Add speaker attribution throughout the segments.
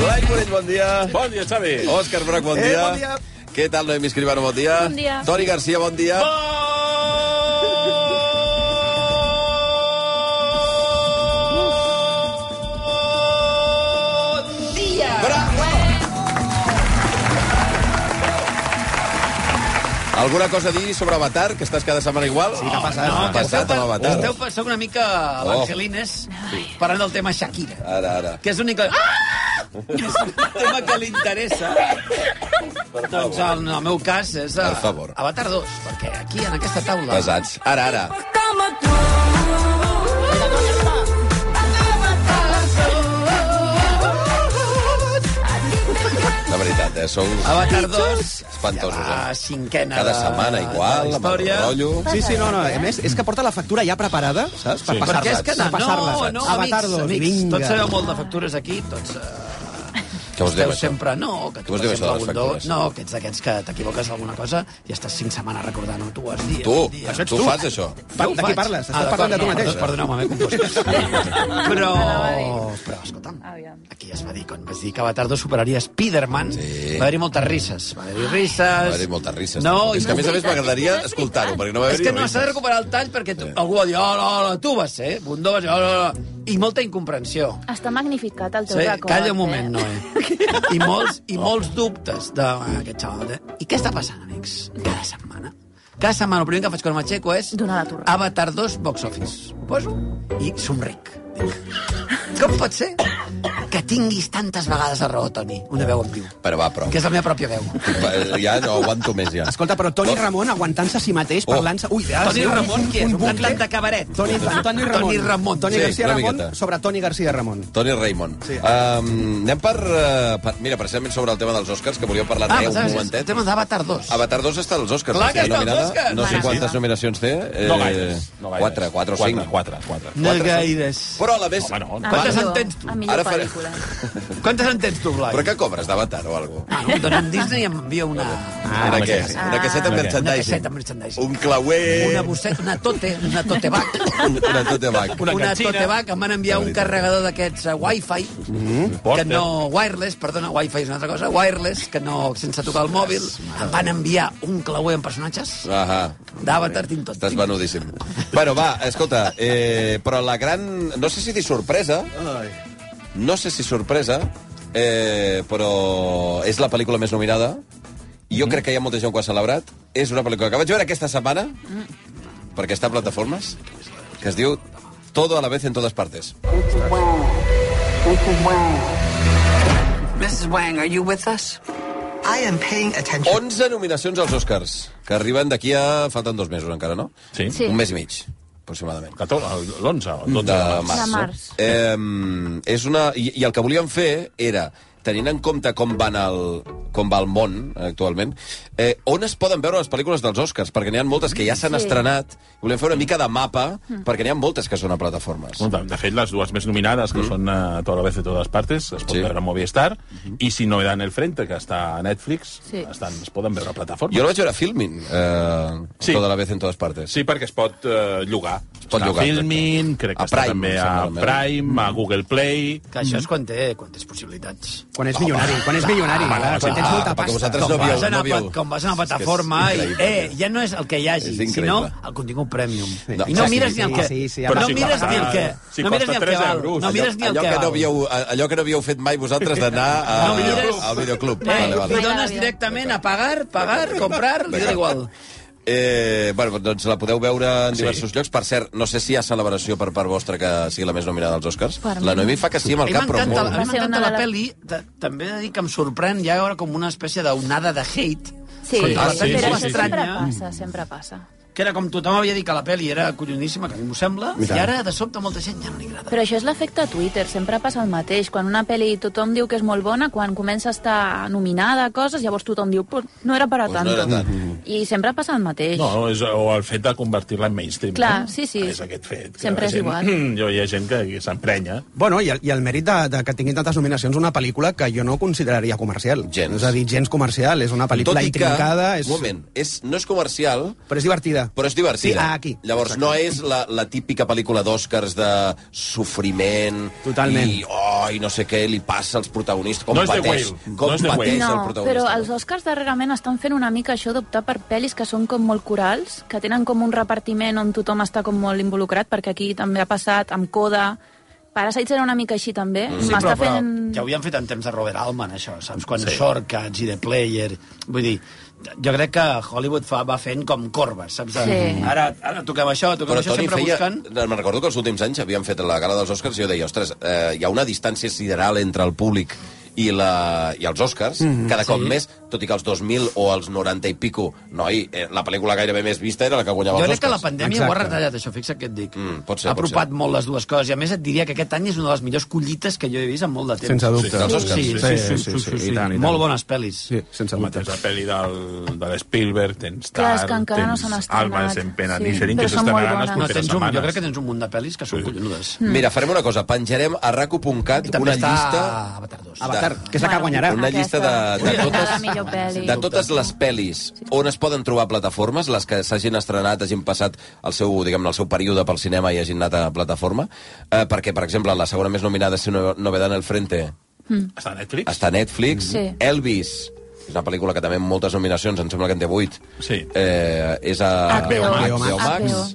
Speaker 1: Blai Morell, bon dia.
Speaker 2: Bon dia, Xavi.
Speaker 1: Òscar Broc, bon dia. Eh, bon dia. Què tal, Noemi Escribano, bon dia. Bon dia. Toni Garcia, bon dia. Bon... Alguna cosa a dir sobre Avatar, que estàs cada setmana igual? Sí,
Speaker 3: Què passa?
Speaker 1: No,
Speaker 3: No,
Speaker 1: ha
Speaker 3: que
Speaker 1: passat amb
Speaker 3: esteu,
Speaker 1: Avatar.
Speaker 3: esteu pensant una mica
Speaker 1: Oh.
Speaker 3: a l'Angelines parlant del tema Shakira,
Speaker 1: Ara, ara.
Speaker 3: que és l'únic... que- Ah! Que és un tema que li interessa. Doncs en el meu cas és a,
Speaker 1: Per favor.
Speaker 3: Avatar 2, perquè aquí, en aquesta taula...
Speaker 1: Pesats. Ara, ara. La veritat, eh? Sou
Speaker 3: Avatar 2,
Speaker 1: Espantosos,
Speaker 3: la
Speaker 1: eh?
Speaker 3: cinquena
Speaker 1: Cada
Speaker 3: de-
Speaker 1: setmana
Speaker 3: de
Speaker 1: igual,
Speaker 3: la
Speaker 1: amb el
Speaker 3: història.
Speaker 1: rotllo.
Speaker 4: Sí, sí, no, no. A més, és que porta la factura ja preparada, saps? Per
Speaker 1: Sí.
Speaker 4: passar-la.
Speaker 3: Eh? Perquè és que...
Speaker 4: per
Speaker 3: No,
Speaker 4: passar-la.
Speaker 3: no,
Speaker 4: Avatar
Speaker 3: amics,
Speaker 4: dos,
Speaker 3: amics,
Speaker 4: vinga.
Speaker 3: tots sabeu molt de factures aquí, tots... eh,
Speaker 1: Què us
Speaker 3: Esteu
Speaker 1: deu, això?
Speaker 3: sempre, no, que
Speaker 1: Què us diu
Speaker 3: sempre
Speaker 1: això de les
Speaker 3: algun do-
Speaker 1: factures?
Speaker 3: No, que ets d'aquests que t'equivoques alguna cosa i estàs cinc setmanes recordant-ho, tu has dit...
Speaker 1: Tu,
Speaker 3: dia.
Speaker 1: tu, tu fas això.
Speaker 4: Pa- de qui
Speaker 3: faig.
Speaker 4: parles? Estàs
Speaker 3: d'acord,
Speaker 4: parlant de tu
Speaker 3: no,
Speaker 4: mateix.
Speaker 3: doncs Perdoneu-me, m'he confós. però, però, escolta'm, aquí es va dir, quan vas dir que Avatar 2 superaria Spider-Man,
Speaker 1: Sí. Ah,
Speaker 3: va haver-hi moltes risses. Va haver-hi risses...
Speaker 1: Va haver-hi moltes risses.
Speaker 3: No,
Speaker 1: és que a més a més m'agradaria escoltar-ho, perquè no va
Speaker 3: és
Speaker 1: haver-hi
Speaker 3: que no,
Speaker 1: risses.
Speaker 3: s'ha de recuperar el tall perquè tu, algú va dir, hola, hola, tu vas ser, Bundó vas ser, hola, hola, i molta incomprensió.
Speaker 5: Està magnificat el teu
Speaker 3: Sí,
Speaker 5: record.
Speaker 3: calla un moment, Noé. I molts, i molts dubtes d'aquest xaval. eh? I què està passant, amics? Cada setmana. Cada setmana el primer que faig quan m'aixeco és...
Speaker 5: Donar la torre.
Speaker 3: Avatar 2 Box Office. Ho poso i somric. Dic, Com pot ser que tinguis tantes vegades a raó, Toni? Una veu en viu.
Speaker 1: Però va, prou.
Speaker 3: Que és la meva pròpia veu.
Speaker 1: Va, Ja no aguanto més, ja.
Speaker 4: Escolta, però Toni Ramon aguantant-se a si mateix,
Speaker 1: Oh.
Speaker 4: parlant-se... Ui, ha
Speaker 3: Oh.
Speaker 4: de
Speaker 3: Toni
Speaker 4: ser un-
Speaker 3: Ramon, qui és? Un
Speaker 4: bucle.
Speaker 3: cantant de cabaret.
Speaker 4: Toni, Toni Ramon.
Speaker 3: Toni Ramon.
Speaker 4: Toni
Speaker 1: Sí,
Speaker 4: García
Speaker 1: una
Speaker 4: Ramon
Speaker 1: miqueta.
Speaker 4: sobre Toni García Ramon.
Speaker 1: Toni Raymond. Sí.
Speaker 4: Sí.
Speaker 1: Um, anem per, uh, per... Mira, precisament sobre el tema dels Oscars que volíeu parlar
Speaker 3: Ah,
Speaker 1: ah, un
Speaker 3: saps, és el
Speaker 1: momentet.
Speaker 3: tema d'Avatar 2.
Speaker 1: Avatar 2 està als Oscars.
Speaker 3: Clar
Speaker 1: no?
Speaker 3: que està als
Speaker 1: Nominada.
Speaker 3: Oscars.
Speaker 1: No sé
Speaker 3: Mare
Speaker 1: quantes
Speaker 3: meva.
Speaker 1: nominacions té. Eh,
Speaker 2: No gaires. No gaires.
Speaker 1: 4, 4 o 5.
Speaker 2: 4, 4.
Speaker 3: No gaires.
Speaker 1: Però a la més...
Speaker 2: Home, no.
Speaker 3: Quantes
Speaker 5: Millor-
Speaker 3: en tens tu?
Speaker 5: A millor
Speaker 1: Ara
Speaker 5: Ara
Speaker 1: faré-
Speaker 5: pel·lícula.
Speaker 3: Quantes en tens tu, Blai?
Speaker 1: Però què cobres d'Avatar o alguna cosa?
Speaker 3: Ah, no, em dona un Disney i em envia una...
Speaker 1: Ah, una, què? una caseta amb
Speaker 2: Una
Speaker 3: Ah. Una
Speaker 1: merchandising.
Speaker 3: caseta amb merchandising.
Speaker 1: Un clauer...
Speaker 3: Una bosseta, una tote, una tote bag.
Speaker 1: Un- una tote bag.
Speaker 3: Una, una
Speaker 2: canxina.
Speaker 3: tote bag. Em van enviar un carregador d'aquests uh, wifi, que
Speaker 2: Porta.
Speaker 3: no... Wireless, perdona, wifi és una altra cosa. Wireless, que no... sense tocar el mòbil. Em van enviar un clauer amb personatges
Speaker 1: Ahà.
Speaker 3: d'Avatar Tim Tot.
Speaker 1: Estàs venudíssim. Bueno, va, escolta, eh, però la gran... No sé si dir sorpresa,
Speaker 4: Ai.
Speaker 1: no sé si sorpresa, eh, però és la pel·lícula més nominada. Jo
Speaker 3: Mhm.
Speaker 1: crec que hi ha molta gent que ho ha celebrat. És una pel·lícula que vaig veure aquesta setmana,
Speaker 3: Mhm.
Speaker 1: perquè està a plataformes, que es diu Todo a la vez en todas partes.
Speaker 6: Mrs. Wang, are you with us? I am paying attention.
Speaker 1: 11 nominacions als Oscars, que arriben d'aquí a... Falten dos mesos encara, no?
Speaker 2: Sí.
Speaker 5: Sí.
Speaker 1: Un mes i mig, aproximadament.
Speaker 2: L'11 o 12
Speaker 1: de març.
Speaker 5: De març.
Speaker 1: Eh, és una... I, I el que volíem fer era, tenint en compte com van el, com va el món actualment, eh, on es poden veure les pel·lícules dels Oscars? Perquè n'hi ha moltes que ja s'han
Speaker 5: Sí. Mm.
Speaker 1: estrenat. Volem fer una mica de mapa, perquè n'hi ha moltes que són a plataformes.
Speaker 2: De, de fet, les dues més nominades, que són eh, a toda la vez de todas partes, es
Speaker 1: Mm-hmm.
Speaker 2: pot
Speaker 1: Sí. Mm-hmm.
Speaker 2: veure a Movistar, i si no en el frente, que està a Netflix,
Speaker 5: Sí.
Speaker 2: estan, es poden veure a plataformes.
Speaker 1: Jo la vaig veure a Filmin, eh,
Speaker 2: Sí.
Speaker 1: tota la vez en totes partes.
Speaker 2: Sí, perquè es pot eh, llogar. Es
Speaker 1: pot llogar,
Speaker 2: A Filmin, crec que
Speaker 1: A
Speaker 2: a està
Speaker 1: Prime,
Speaker 2: també
Speaker 1: em
Speaker 2: a
Speaker 1: sembla, també. Mm-hmm.
Speaker 2: Prime, a Google Play...
Speaker 3: Que això és quan té, quan tens possibilitats.
Speaker 4: Quan és milionari, quan és
Speaker 3: eh?
Speaker 4: milionari. clar, quan tens molta
Speaker 1: Ah, perquè
Speaker 4: pasta.
Speaker 1: vosaltres
Speaker 3: Com
Speaker 1: no vieu,
Speaker 3: vas, anar,
Speaker 1: no viu.
Speaker 3: pla- com vas a una
Speaker 1: És
Speaker 3: plataforma
Speaker 1: que és
Speaker 3: i,
Speaker 1: increïble.
Speaker 3: eh, ja no és el que hi hagi,
Speaker 1: És increïble.
Speaker 3: sinó el contingut premium.
Speaker 1: No,
Speaker 3: I no
Speaker 1: sí,
Speaker 3: mires
Speaker 1: sí,
Speaker 3: ni el que...
Speaker 4: sí, sí,
Speaker 3: no
Speaker 2: sí,
Speaker 3: mires ni el que...
Speaker 2: sí,
Speaker 3: no mires ni el que
Speaker 2: costa 3
Speaker 3: val.
Speaker 2: euros.
Speaker 3: No mires ni el
Speaker 1: allò,
Speaker 3: que
Speaker 1: que
Speaker 3: val.
Speaker 1: no havíeu, allò que no havíeu fet mai vosaltres d'anar a,
Speaker 3: No mires-
Speaker 1: al videoclub.
Speaker 3: Eh,
Speaker 1: Vale, vale.
Speaker 3: Li dones directament a pagar, pagar, comprar, li da igual.
Speaker 1: Eh, bueno, doncs la podeu veure en diversos sí. llocs. Per cert, no sé si hi ha celebració per part vostra que sigui la més nominada als Oscars.
Speaker 5: Per mi
Speaker 1: la
Speaker 5: no.
Speaker 1: Noemi fa que sí amb
Speaker 3: A
Speaker 1: el
Speaker 3: mi
Speaker 1: cap, però
Speaker 3: m'encanta
Speaker 1: molt.
Speaker 3: a
Speaker 5: Va
Speaker 3: mi
Speaker 5: ser una
Speaker 3: m'encanta la
Speaker 5: de les-
Speaker 3: pel·li, ta- també he de dir que em sorprèn, hi ha ara com una espècie d'onada de hate
Speaker 5: Sí,
Speaker 3: contra
Speaker 2: Ah,
Speaker 3: la
Speaker 2: sí,
Speaker 5: però
Speaker 3: pel·li
Speaker 2: sí,
Speaker 5: això
Speaker 2: sí, sí.
Speaker 5: sempre
Speaker 3: estranya.
Speaker 5: passa, sempre passa.
Speaker 3: que era com tothom havia dit que la pel·li era colloníssima, que a mi m'ho sembla,
Speaker 4: I
Speaker 3: i,
Speaker 4: tant.
Speaker 3: ara, de sobte, molta gent ja no li agrada.
Speaker 7: Però això és l'efecte Twitter, sempre passa el mateix. Quan una pel·li tothom diu que és molt bona, quan comença a estar nominada a coses, llavors tothom diu, pues no era para
Speaker 1: Pues Doncs no
Speaker 7: tanto.
Speaker 1: era tant.
Speaker 7: I sempre passa el mateix.
Speaker 2: Mm-hmm. No, és, o el fet de convertir-la en mainstream.
Speaker 7: Clar,
Speaker 2: no?
Speaker 7: sí, sí.
Speaker 2: És aquest fet. que
Speaker 7: Sempre
Speaker 2: la
Speaker 7: és
Speaker 2: gent, Mm,
Speaker 7: igual.
Speaker 2: Jo hi ha gent que que s'emprenya.
Speaker 4: Bueno, i el, i el mèrit de, de que tingui tantes nominacions una pel·lícula que jo no consideraria comercial.
Speaker 1: Gens.
Speaker 4: És a dir, gens comercial. És una pel·lícula intrincada. És...
Speaker 1: Un moment, és, no és comercial,
Speaker 4: Però és divertida.
Speaker 1: però és divertida.
Speaker 4: Sí, ah, aquí.
Speaker 1: Llavors, no és la, la típica pel·lícula d'Oscars de sofriment...
Speaker 4: Totalment.
Speaker 1: I, oh, i no sé què li passa als protagonistes. Com
Speaker 2: No és The
Speaker 1: pateix,
Speaker 2: Whale.
Speaker 1: com
Speaker 2: No és The Whale.
Speaker 1: pateix
Speaker 2: és
Speaker 7: no,
Speaker 1: el protagonista.
Speaker 7: però els Oscars darrerament estan fent una mica això d'optar per pel·lis que són com molt corals, que tenen com un repartiment on tothom està com molt involucrat, perquè aquí també ha passat amb Coda, Parasites era una mica així també, mm.
Speaker 3: Sí,
Speaker 7: m'està
Speaker 3: però, però
Speaker 7: fent...
Speaker 3: ja ho havien fet en temps de Robert Altman, això, saps? Quan sí. Shortcuts i The Player... Vull dir, jo crec que Hollywood fa, va fent com corbes, saps? De,
Speaker 7: Sí.
Speaker 3: Ara, ara toquem això, toquem
Speaker 1: Però
Speaker 3: això,
Speaker 1: Toni
Speaker 3: sempre
Speaker 1: feia...
Speaker 3: buscant...
Speaker 1: Me'n recordo que els últims anys havien fet la gala dels Oscars i jo deia, ostres, eh, hi ha una distància sideral entre el públic i, la, i els Oscars, mm -hmm, cada cop més, tot i que els 2000 o els 90 i pico, noi, eh, la pel·lícula gairebé més vista era la que guanyava
Speaker 3: Jo
Speaker 1: els
Speaker 3: crec que
Speaker 1: Oscars.
Speaker 3: la pandèmia
Speaker 4: Exacte.
Speaker 3: ho ha retallat, això, fixa't què et dic.
Speaker 1: Mm, pot ser,
Speaker 3: ha
Speaker 1: pot
Speaker 3: apropat
Speaker 1: ser.
Speaker 3: molt les dues coses, i a més et diria que aquest any és una de les millors collites que jo he vist en molt de temps.
Speaker 4: Sense dubte.
Speaker 1: dels Oscars.
Speaker 3: Sí, sí, sí, sí, sí, sí, sí,
Speaker 4: i
Speaker 3: sí.
Speaker 4: tant, i tant.
Speaker 3: Molt bones pel·lis.
Speaker 4: Sí, sense
Speaker 2: Home,
Speaker 4: dubte.
Speaker 2: tens la pel·li del, de l'Spielberg, tens
Speaker 7: Clar,
Speaker 2: Tar,
Speaker 7: és que encara no
Speaker 2: tens
Speaker 7: s'han estrenat.
Speaker 2: Almas en Pena
Speaker 7: Sí,
Speaker 2: sí, Nisherin,
Speaker 7: però
Speaker 2: que
Speaker 7: són molt
Speaker 2: s'estrenaran les
Speaker 7: bones.
Speaker 3: No,
Speaker 2: properes
Speaker 3: tens un,
Speaker 2: setmanes.
Speaker 3: jo crec que tens un munt de pel·lis que són collonudes.
Speaker 1: Mira, farem una cosa, penjarem a
Speaker 3: I
Speaker 1: raco.cat
Speaker 3: també
Speaker 1: una
Speaker 3: està
Speaker 1: llista...
Speaker 3: Avatar 2.
Speaker 4: Avatar, que és la que
Speaker 7: Bueno,
Speaker 4: guanyarà.
Speaker 1: Una llista de, de,
Speaker 7: Aquesta.
Speaker 1: totes,
Speaker 7: La millor pel·li.
Speaker 1: de totes les pel·lis on es poden trobar plataformes, les que s'hagin estrenat, hagin passat el seu, diguem el seu període pel cinema i hagin anat a plataforma, eh, perquè, per exemple, la segona més nominada és una novedad en el frente,
Speaker 2: Està a Netflix?
Speaker 1: està a Netflix,
Speaker 7: Sí.
Speaker 1: Elvis, és una pel·lícula que també amb moltes nominacions, em sembla que en té 8,
Speaker 2: Sí.
Speaker 1: eh, és a
Speaker 7: HBO.
Speaker 1: HBO Max,
Speaker 7: HBO.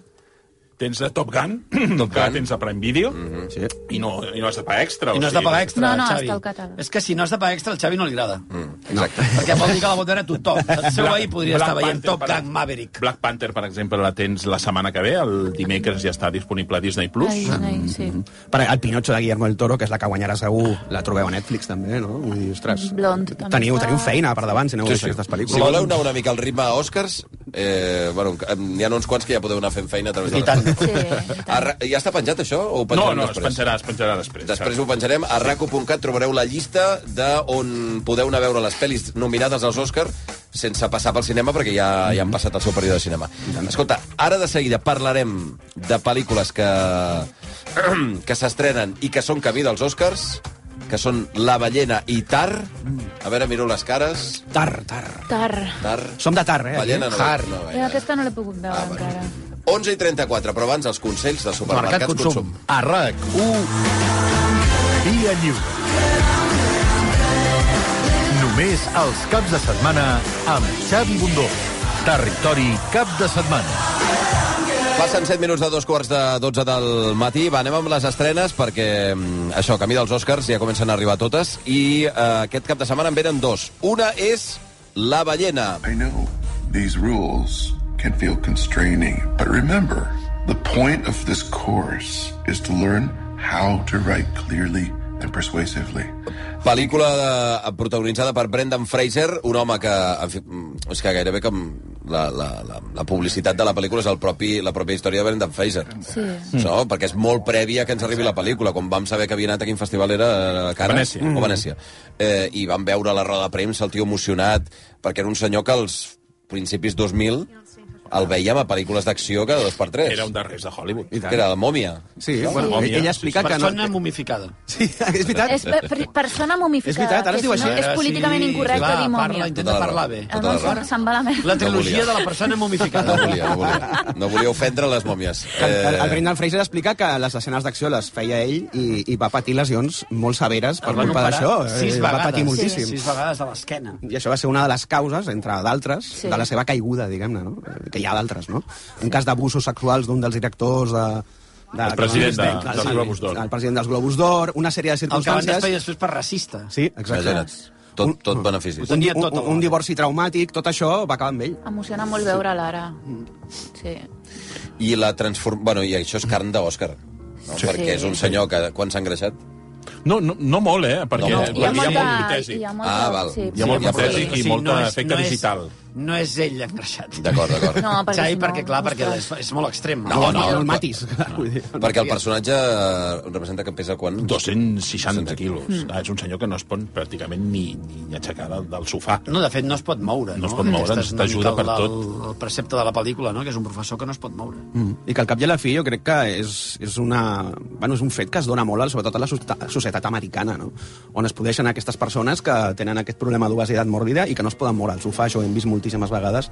Speaker 2: Tens la Top Gun, Top que
Speaker 1: Gun.
Speaker 2: tens a Prime Video, sí. i, no, i no has de pagar extra.
Speaker 3: I
Speaker 2: o
Speaker 3: no has de
Speaker 2: sigui,
Speaker 3: pagar extra,
Speaker 7: No, no,
Speaker 3: Xavi.
Speaker 7: està al català.
Speaker 3: És que si no has de pagar extra, al Xavi no li agrada. Mm.
Speaker 1: Exacte.
Speaker 3: Perquè vol dir que la pot veure tothom. El seu
Speaker 2: Black-
Speaker 3: veí podria
Speaker 2: Black
Speaker 3: estar veient
Speaker 2: Panther,
Speaker 3: Top
Speaker 2: per
Speaker 3: Gun
Speaker 2: exemple.
Speaker 3: Maverick.
Speaker 2: Black Panther, per exemple, la tens la setmana que ve, el dimecres ja està disponible a Disney+. Plus.
Speaker 7: Ai, ai, sí.
Speaker 4: Per el Pinocho de Guillermo del Toro, que és la que guanyarà segur, la trobeu a Netflix també, no? Vull dir, ostres,
Speaker 7: Blond, també
Speaker 4: teniu,
Speaker 7: està.
Speaker 4: teniu feina per davant si aneu sí, sí. aquestes
Speaker 1: Si
Speaker 4: pel·lícules.
Speaker 1: voleu anar una mica al ritme a Oscars, eh, bueno, n'hi ha uns quants que ja podeu anar fent feina a través de
Speaker 3: I tant.
Speaker 7: Sí, i tant.
Speaker 1: plataforma. A ra- Ja està penjat, això? O ho
Speaker 2: No,
Speaker 1: penjarem
Speaker 2: no, es
Speaker 1: després?
Speaker 2: penjarà, es penjarà després.
Speaker 1: Després ho penjarem. A raco.cat trobareu la llista de on podeu anar a veure les pel·lis nominades als Òscar sense passar pel cinema, perquè ja, ja han passat el seu període de cinema. Escolta, ara de seguida parlarem de pel·lícules que, que s'estrenen i que són camí dels Òscars, que són La ballena i Tar. A veure, miro les cares.
Speaker 4: Tar, tar.
Speaker 7: Tar.
Speaker 1: Tar.
Speaker 4: Som de tar, eh?
Speaker 1: Ballena no.
Speaker 4: Tar.
Speaker 1: no,
Speaker 7: Jo
Speaker 1: gaire.
Speaker 7: aquesta no l'he pogut veure
Speaker 1: Ah,
Speaker 7: ah,
Speaker 1: bueno.
Speaker 7: encara.
Speaker 1: 11 i 34, però abans els consells de supermercats
Speaker 3: Mercat Consum.
Speaker 1: Consum.
Speaker 4: Ah,
Speaker 5: A RAC1
Speaker 4: Uh.
Speaker 5: Via Lliure Només els caps de setmana amb Xavi Bundó Territori cap de setmana
Speaker 1: Passen 7 minuts de dos quarts de 12 del matí. Va, anem amb les estrenes perquè, mm, això, camí dels Oscars ja comencen a arribar totes i eh, aquest cap de setmana en venen dos. Una és La ballena.
Speaker 8: I know these rules can feel constraining, but remember, the point of this course is to learn how to write clearly and persuasively.
Speaker 1: Pel·lícula de, eh, protagonitzada per Brendan Fraser, un home que... En fi, mm, és que gairebé com la, la, la, la publicitat de la pel·lícula és el propi, la pròpia història de Brendan Fraser.
Speaker 7: Sí.
Speaker 1: No? Perquè és molt prèvia que ens arribi la pel·lícula. Quan vam saber que havia anat a quin festival era eh, a Canes
Speaker 2: Venècia.
Speaker 1: o Venècia. Eh, I vam veure la roda de premsa, el tio emocionat, perquè era un senyor que als principis 2000 el veiem a pel·lícules d'acció cada dos per tres.
Speaker 2: Era un darrers de Hollywood.
Speaker 4: I tant.
Speaker 1: Que era la mòmia.
Speaker 4: Sí, bueno,
Speaker 2: Sí.
Speaker 4: ella explica que no...
Speaker 3: Persona momificada.
Speaker 4: Sí, és veritat.
Speaker 7: És per, per, persona momificada.
Speaker 4: És veritat, ara es diu
Speaker 7: que
Speaker 4: així.
Speaker 7: No, és políticament incorrecte
Speaker 3: Va,
Speaker 7: dir
Speaker 3: parla,
Speaker 7: mòmia. Ah.
Speaker 3: intenta
Speaker 1: Tota la
Speaker 3: parlar
Speaker 1: raó.
Speaker 3: bé.
Speaker 1: Tota
Speaker 7: El
Speaker 1: la
Speaker 7: món
Speaker 1: raó.
Speaker 7: se'n va a la merda.
Speaker 3: La trilogia
Speaker 1: volia.
Speaker 3: de la persona
Speaker 1: No
Speaker 3: momificada.
Speaker 1: volia, no volia. No volia ofendre les mòmies. Eh,
Speaker 4: Que el, el Brendan Fraser explica que les escenes d'acció les feia ell i, i va patir lesions molt severes per
Speaker 3: El van
Speaker 4: culpa
Speaker 3: operar
Speaker 4: d'això.
Speaker 3: Sis
Speaker 4: Eh, Va
Speaker 3: vegades.
Speaker 4: patir moltíssim.
Speaker 3: Sis vegades a l'esquena.
Speaker 4: I això va ser una de les causes, entre d'altres,
Speaker 7: Sí.
Speaker 4: sí. de la seva caiguda, diguem-ne, no? Eh, que hi ha d'altres, no? Un cas d'abusos sexuals d'un dels directors de... de
Speaker 2: El president de-
Speaker 4: del-
Speaker 2: dels Globus d'Or.
Speaker 4: El president dels Globus d'or, una sèrie de
Speaker 3: El que van
Speaker 4: circumstàncies...
Speaker 3: despedir després per racista.
Speaker 4: Sí, exacte.
Speaker 1: Imagina't. Tot, tot beneficis.
Speaker 4: Un, di-
Speaker 3: Tenia tot
Speaker 4: un,
Speaker 3: a
Speaker 4: un
Speaker 3: la-
Speaker 4: divorci traumàtic, tot això va acabar amb ell.
Speaker 7: Emociona molt veure'l ara. Sí.
Speaker 1: I la transform... Bueno, i això és carn d'Òscar. No?
Speaker 7: Sí.
Speaker 1: Perquè és un senyor que... Quan s'ha engreixat?
Speaker 2: No, no, no molt, eh? Perquè
Speaker 1: No, no.
Speaker 2: no, hi
Speaker 1: Hi ha
Speaker 2: ha molt
Speaker 1: molta-
Speaker 2: litesi.
Speaker 7: hi ha molta,
Speaker 1: Ah, val.
Speaker 7: Sí,
Speaker 2: Hi ha molt
Speaker 1: molta
Speaker 7: sí,
Speaker 2: litesi
Speaker 3: O
Speaker 2: i
Speaker 3: sigui,
Speaker 2: molt
Speaker 3: no és-
Speaker 2: efecte
Speaker 3: no és-
Speaker 2: digital.
Speaker 3: No és ell l'engreixat.
Speaker 1: D'acord, d'acord.
Speaker 7: No, perquè
Speaker 3: Xai,
Speaker 7: si no,
Speaker 3: perquè, clar, perquè
Speaker 7: ostres.
Speaker 3: és, és molt extrem.
Speaker 1: No, no, no.
Speaker 3: no.
Speaker 1: Perquè el personatge eh, representa que pesa quan?
Speaker 2: 260 quilos. Ah, és un senyor que no es pot pràcticament ni, ni aixecar del, del sofà.
Speaker 3: No, de fet, no es pot moure.
Speaker 2: No es pot moure,
Speaker 3: Aquest és
Speaker 2: ens
Speaker 3: una
Speaker 2: t'ajuda
Speaker 3: mica
Speaker 2: per
Speaker 3: el, El, el precepte de la pel·lícula, no? que és un professor que no es pot moure.
Speaker 4: Mm. I que al cap i a la fi jo crec que és, és, una, bueno, és un fet que es dona molt, al- sobretot a la societat, societat americana, no? on es podeixen aquestes persones que tenen aquest problema d'obesitat mòrbida i que no es poden moure al sofà. Això ho hem vist moltíssimes vegades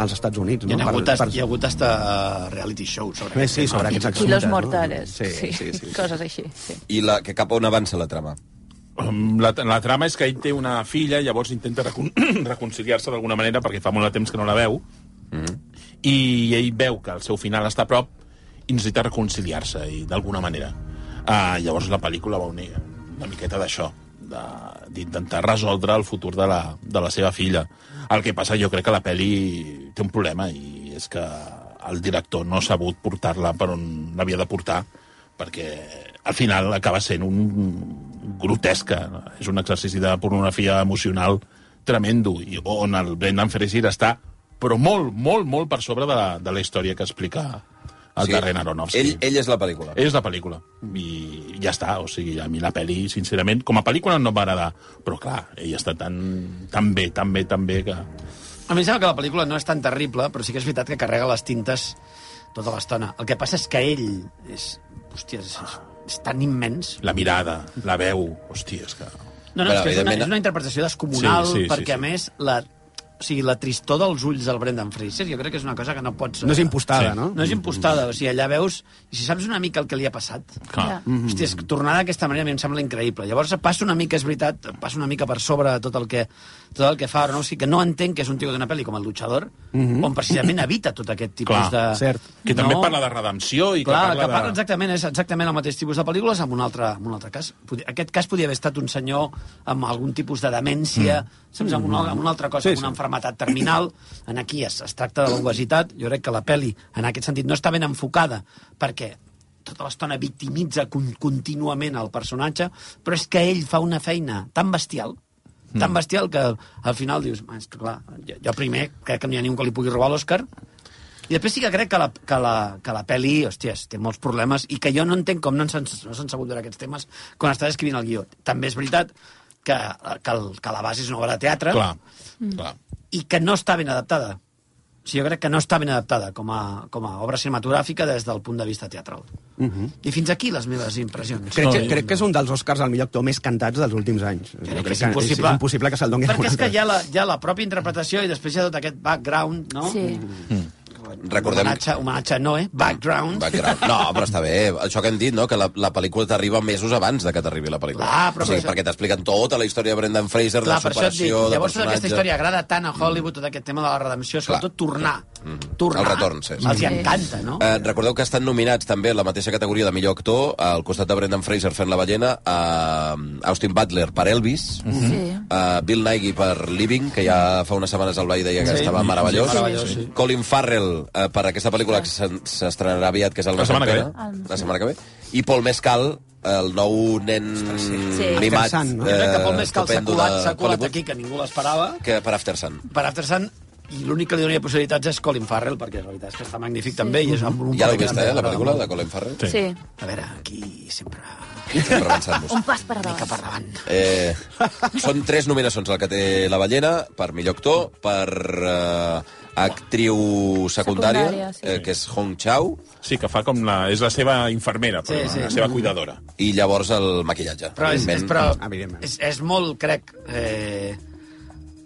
Speaker 4: als Estats Units.
Speaker 3: Hi
Speaker 4: No?
Speaker 3: ha, hagut, per, hi ha hagut hasta eh, reality show sobre
Speaker 4: Eh, sí, sobre aquests assumptes.
Speaker 7: Quilos
Speaker 4: no?
Speaker 7: mortales.
Speaker 4: Sí, sí, sí. sí.
Speaker 7: Coses així, sí.
Speaker 1: I la, que cap a on avança la trama?
Speaker 2: Um, La, la trama és que ell té una filla, llavors intenta recon reconciliar-se d'alguna manera perquè fa molt de temps que no la veu, i ell veu que el seu final està a prop i necessita reconciliar-se, i d'alguna manera. Uh, llavors la pel·lícula va unir una miqueta d'això, de- d'intentar resoldre el futur de la, de la seva filla. El que passa, jo crec que la pel·li té un problema, i és que el director no ha sabut portar-la per on l'havia de portar, perquè al final acaba sent un grotesca. no? És un exercici de pornografia emocional tremendo, i on el Brendan Fraser està però molt, molt, molt per sobre de la, de la història que explica el sí. Darren Aronofsky.
Speaker 1: Ell, ell és la pel·lícula.
Speaker 2: És la pel·lícula. I ja està, o sigui, a mi la pel·li, sincerament, com a pel·lícula no em va agradar, però clar, ell està tan, tan bé, tan bé, tan bé que...
Speaker 3: A mi em sembla que la pel·lícula no és tan terrible, però sí que és veritat que carrega les tintes tota l'estona. El que passa és que ell és... Hòstia, és, és, és tan immens.
Speaker 2: La mirada, la veu, hòstia, és que...
Speaker 3: No,
Speaker 1: Però,
Speaker 3: no, és, que és, una,
Speaker 1: evidentment-
Speaker 3: és una interpretació descomunal,
Speaker 2: Sí,
Speaker 3: sí, sí,
Speaker 2: sí, sí,
Speaker 3: perquè,
Speaker 2: sí.
Speaker 3: a més, la, o sigui, la tristor dels ulls del Brendan Fraser jo crec que és una cosa que no pots... eh,
Speaker 4: No és impostada,
Speaker 2: Sí.
Speaker 4: no?
Speaker 3: No és impostada, o sigui, allà veus... I si saps una mica el que li ha passat...
Speaker 2: Clar.
Speaker 7: Ja.
Speaker 3: Hòstia, és que tornar d'aquesta manera a mi em sembla increïble. Llavors passa una mica, és veritat, passa una mica per sobre de tot el que, tot el que fa Aronofsky, que no entenc que és un tio d'una pel·li com El Luchador, on precisament evita tot aquest tipus
Speaker 2: Clar,
Speaker 3: de...
Speaker 4: cert.
Speaker 2: Que també
Speaker 3: No.
Speaker 2: parla de redempció i
Speaker 3: Clar,
Speaker 2: que parla,
Speaker 3: que parla
Speaker 2: de...
Speaker 3: exactament, és exactament el mateix tipus de pel·lícules amb un altre, amb un altre cas. Podia, aquest cas podia haver estat un senyor amb algun tipus de demència, mm. saps, amb, una, amb una altra cosa,
Speaker 4: Sí,
Speaker 3: sí, amb una
Speaker 4: sí.
Speaker 3: enfermetat terminal. En aquí es, es tracta de l'obesitat. Jo crec que la pel·li, en aquest sentit, no està ben enfocada, perquè tota l'estona victimitza con contínuament el personatge, però és que ell fa una feina tan bestial,
Speaker 2: Mm.
Speaker 3: tan bestial que al final dius, "Ma, és que clar, jo, jo primer crec que no hi ha ningú que li pugui robar l'Oscar i després sí que crec que la, que la, que la peli, hòsties, té molts problemes i que jo no entenc com no s'han no s'han sabut veure aquests temes quan estàs escrivint el guió. També és veritat que, que, el, que la base és una obra de teatre
Speaker 2: Clar, clar.
Speaker 3: i que no està ben adaptada. O sigui, jo crec que no està ben adaptada com a, com a obra cinematogràfica des del punt de vista teatral. Uh -huh. I fins aquí les meves impressions.
Speaker 4: Mhm. Crec, que, crec que és un dels Oscars al millor actor més cantats dels últims anys. Jo
Speaker 3: Crec que és
Speaker 4: és,
Speaker 3: impossible.
Speaker 4: és impossible que se'l doni a
Speaker 3: Perquè
Speaker 4: un
Speaker 3: és que
Speaker 4: altre.
Speaker 3: hi ha, la, hi ha la pròpia interpretació i després hi ha tot aquest background, no? Mm.
Speaker 7: Sí.
Speaker 1: Recordem-
Speaker 3: Homenatge, homenatge a Noé, background.
Speaker 1: Background. No, però està bé. Això que hem dit, no? que la, la pel·lícula t'arriba mesos abans de que t'arribi la pel·lícula.
Speaker 3: Clar, Ah, però
Speaker 1: o sigui,
Speaker 3: per això-
Speaker 1: perquè t'expliquen tota la història de Brendan Fraser,
Speaker 3: Clar,
Speaker 1: de
Speaker 3: per això et dic,
Speaker 1: superació, de
Speaker 3: llavors tota aquesta
Speaker 1: personatge...
Speaker 3: història agrada tant a Hollywood, tot aquest tema de la redempció, sobretot tornar. Mm. tornar.
Speaker 1: El retorn, sí, sí.
Speaker 3: Els hi
Speaker 7: Sí.
Speaker 3: encanta, no?
Speaker 1: Eh, recordeu que estan nominats també en la mateixa categoria de millor actor, al costat de Brendan Fraser fent la ballena, a eh, Austin Butler per Elvis, mm
Speaker 7: Mhm. Sí.
Speaker 1: a Bill Nighy per Living, que ja fa unes setmanes el Blai deia que
Speaker 3: Sí.
Speaker 1: estava meravellós,
Speaker 3: Sí, meravellós, sí.
Speaker 1: Colin Farrell eh, per aquesta pel·lícula que s'en- s'estrenarà aviat, que és el
Speaker 2: La setmana que
Speaker 1: Pena,
Speaker 7: ve.
Speaker 1: la setmana que ve, i Paul Mescal, el nou nen
Speaker 7: Sí.
Speaker 1: mimat,
Speaker 4: After Sun, no?
Speaker 3: Jo crec que Paul
Speaker 1: eh,
Speaker 3: Mescal s'ha
Speaker 1: estupendo
Speaker 3: colat,
Speaker 1: de
Speaker 3: s'ha colat
Speaker 1: Hollywood,
Speaker 3: aquí, que ningú l'esperava,
Speaker 1: que per After Sun.
Speaker 3: per After Sun, i l'únic que li donaria possibilitats és Colin Farrell, perquè la veritat és que està magnífic també, i és amb un
Speaker 1: Ja l'heu
Speaker 3: paper que
Speaker 1: vist,
Speaker 3: també
Speaker 1: eh, la
Speaker 3: m'agrada
Speaker 1: pel·lícula
Speaker 3: molt.
Speaker 1: de Colin Farrell?
Speaker 2: Sí.
Speaker 7: Sí.
Speaker 3: A veure, aquí sempre una
Speaker 1: Sempre avançant-nos.
Speaker 7: Un pas per
Speaker 3: mica per
Speaker 7: davant.
Speaker 3: davant.
Speaker 1: Eh, són tres nominacions el que té La Ballena, per millor actor, per eh, actriu secundària,
Speaker 7: Secundària, sí.
Speaker 1: eh, que és Hong Chau,
Speaker 2: Sí, que fa com la... És la seva infermera, però
Speaker 3: Sí, sí.
Speaker 2: la seva cuidadora.
Speaker 1: i llavors el maquillatge.
Speaker 3: Però és, és,
Speaker 1: Evidentment,
Speaker 3: però
Speaker 4: Evidentment.
Speaker 3: és, és molt, crec, eh,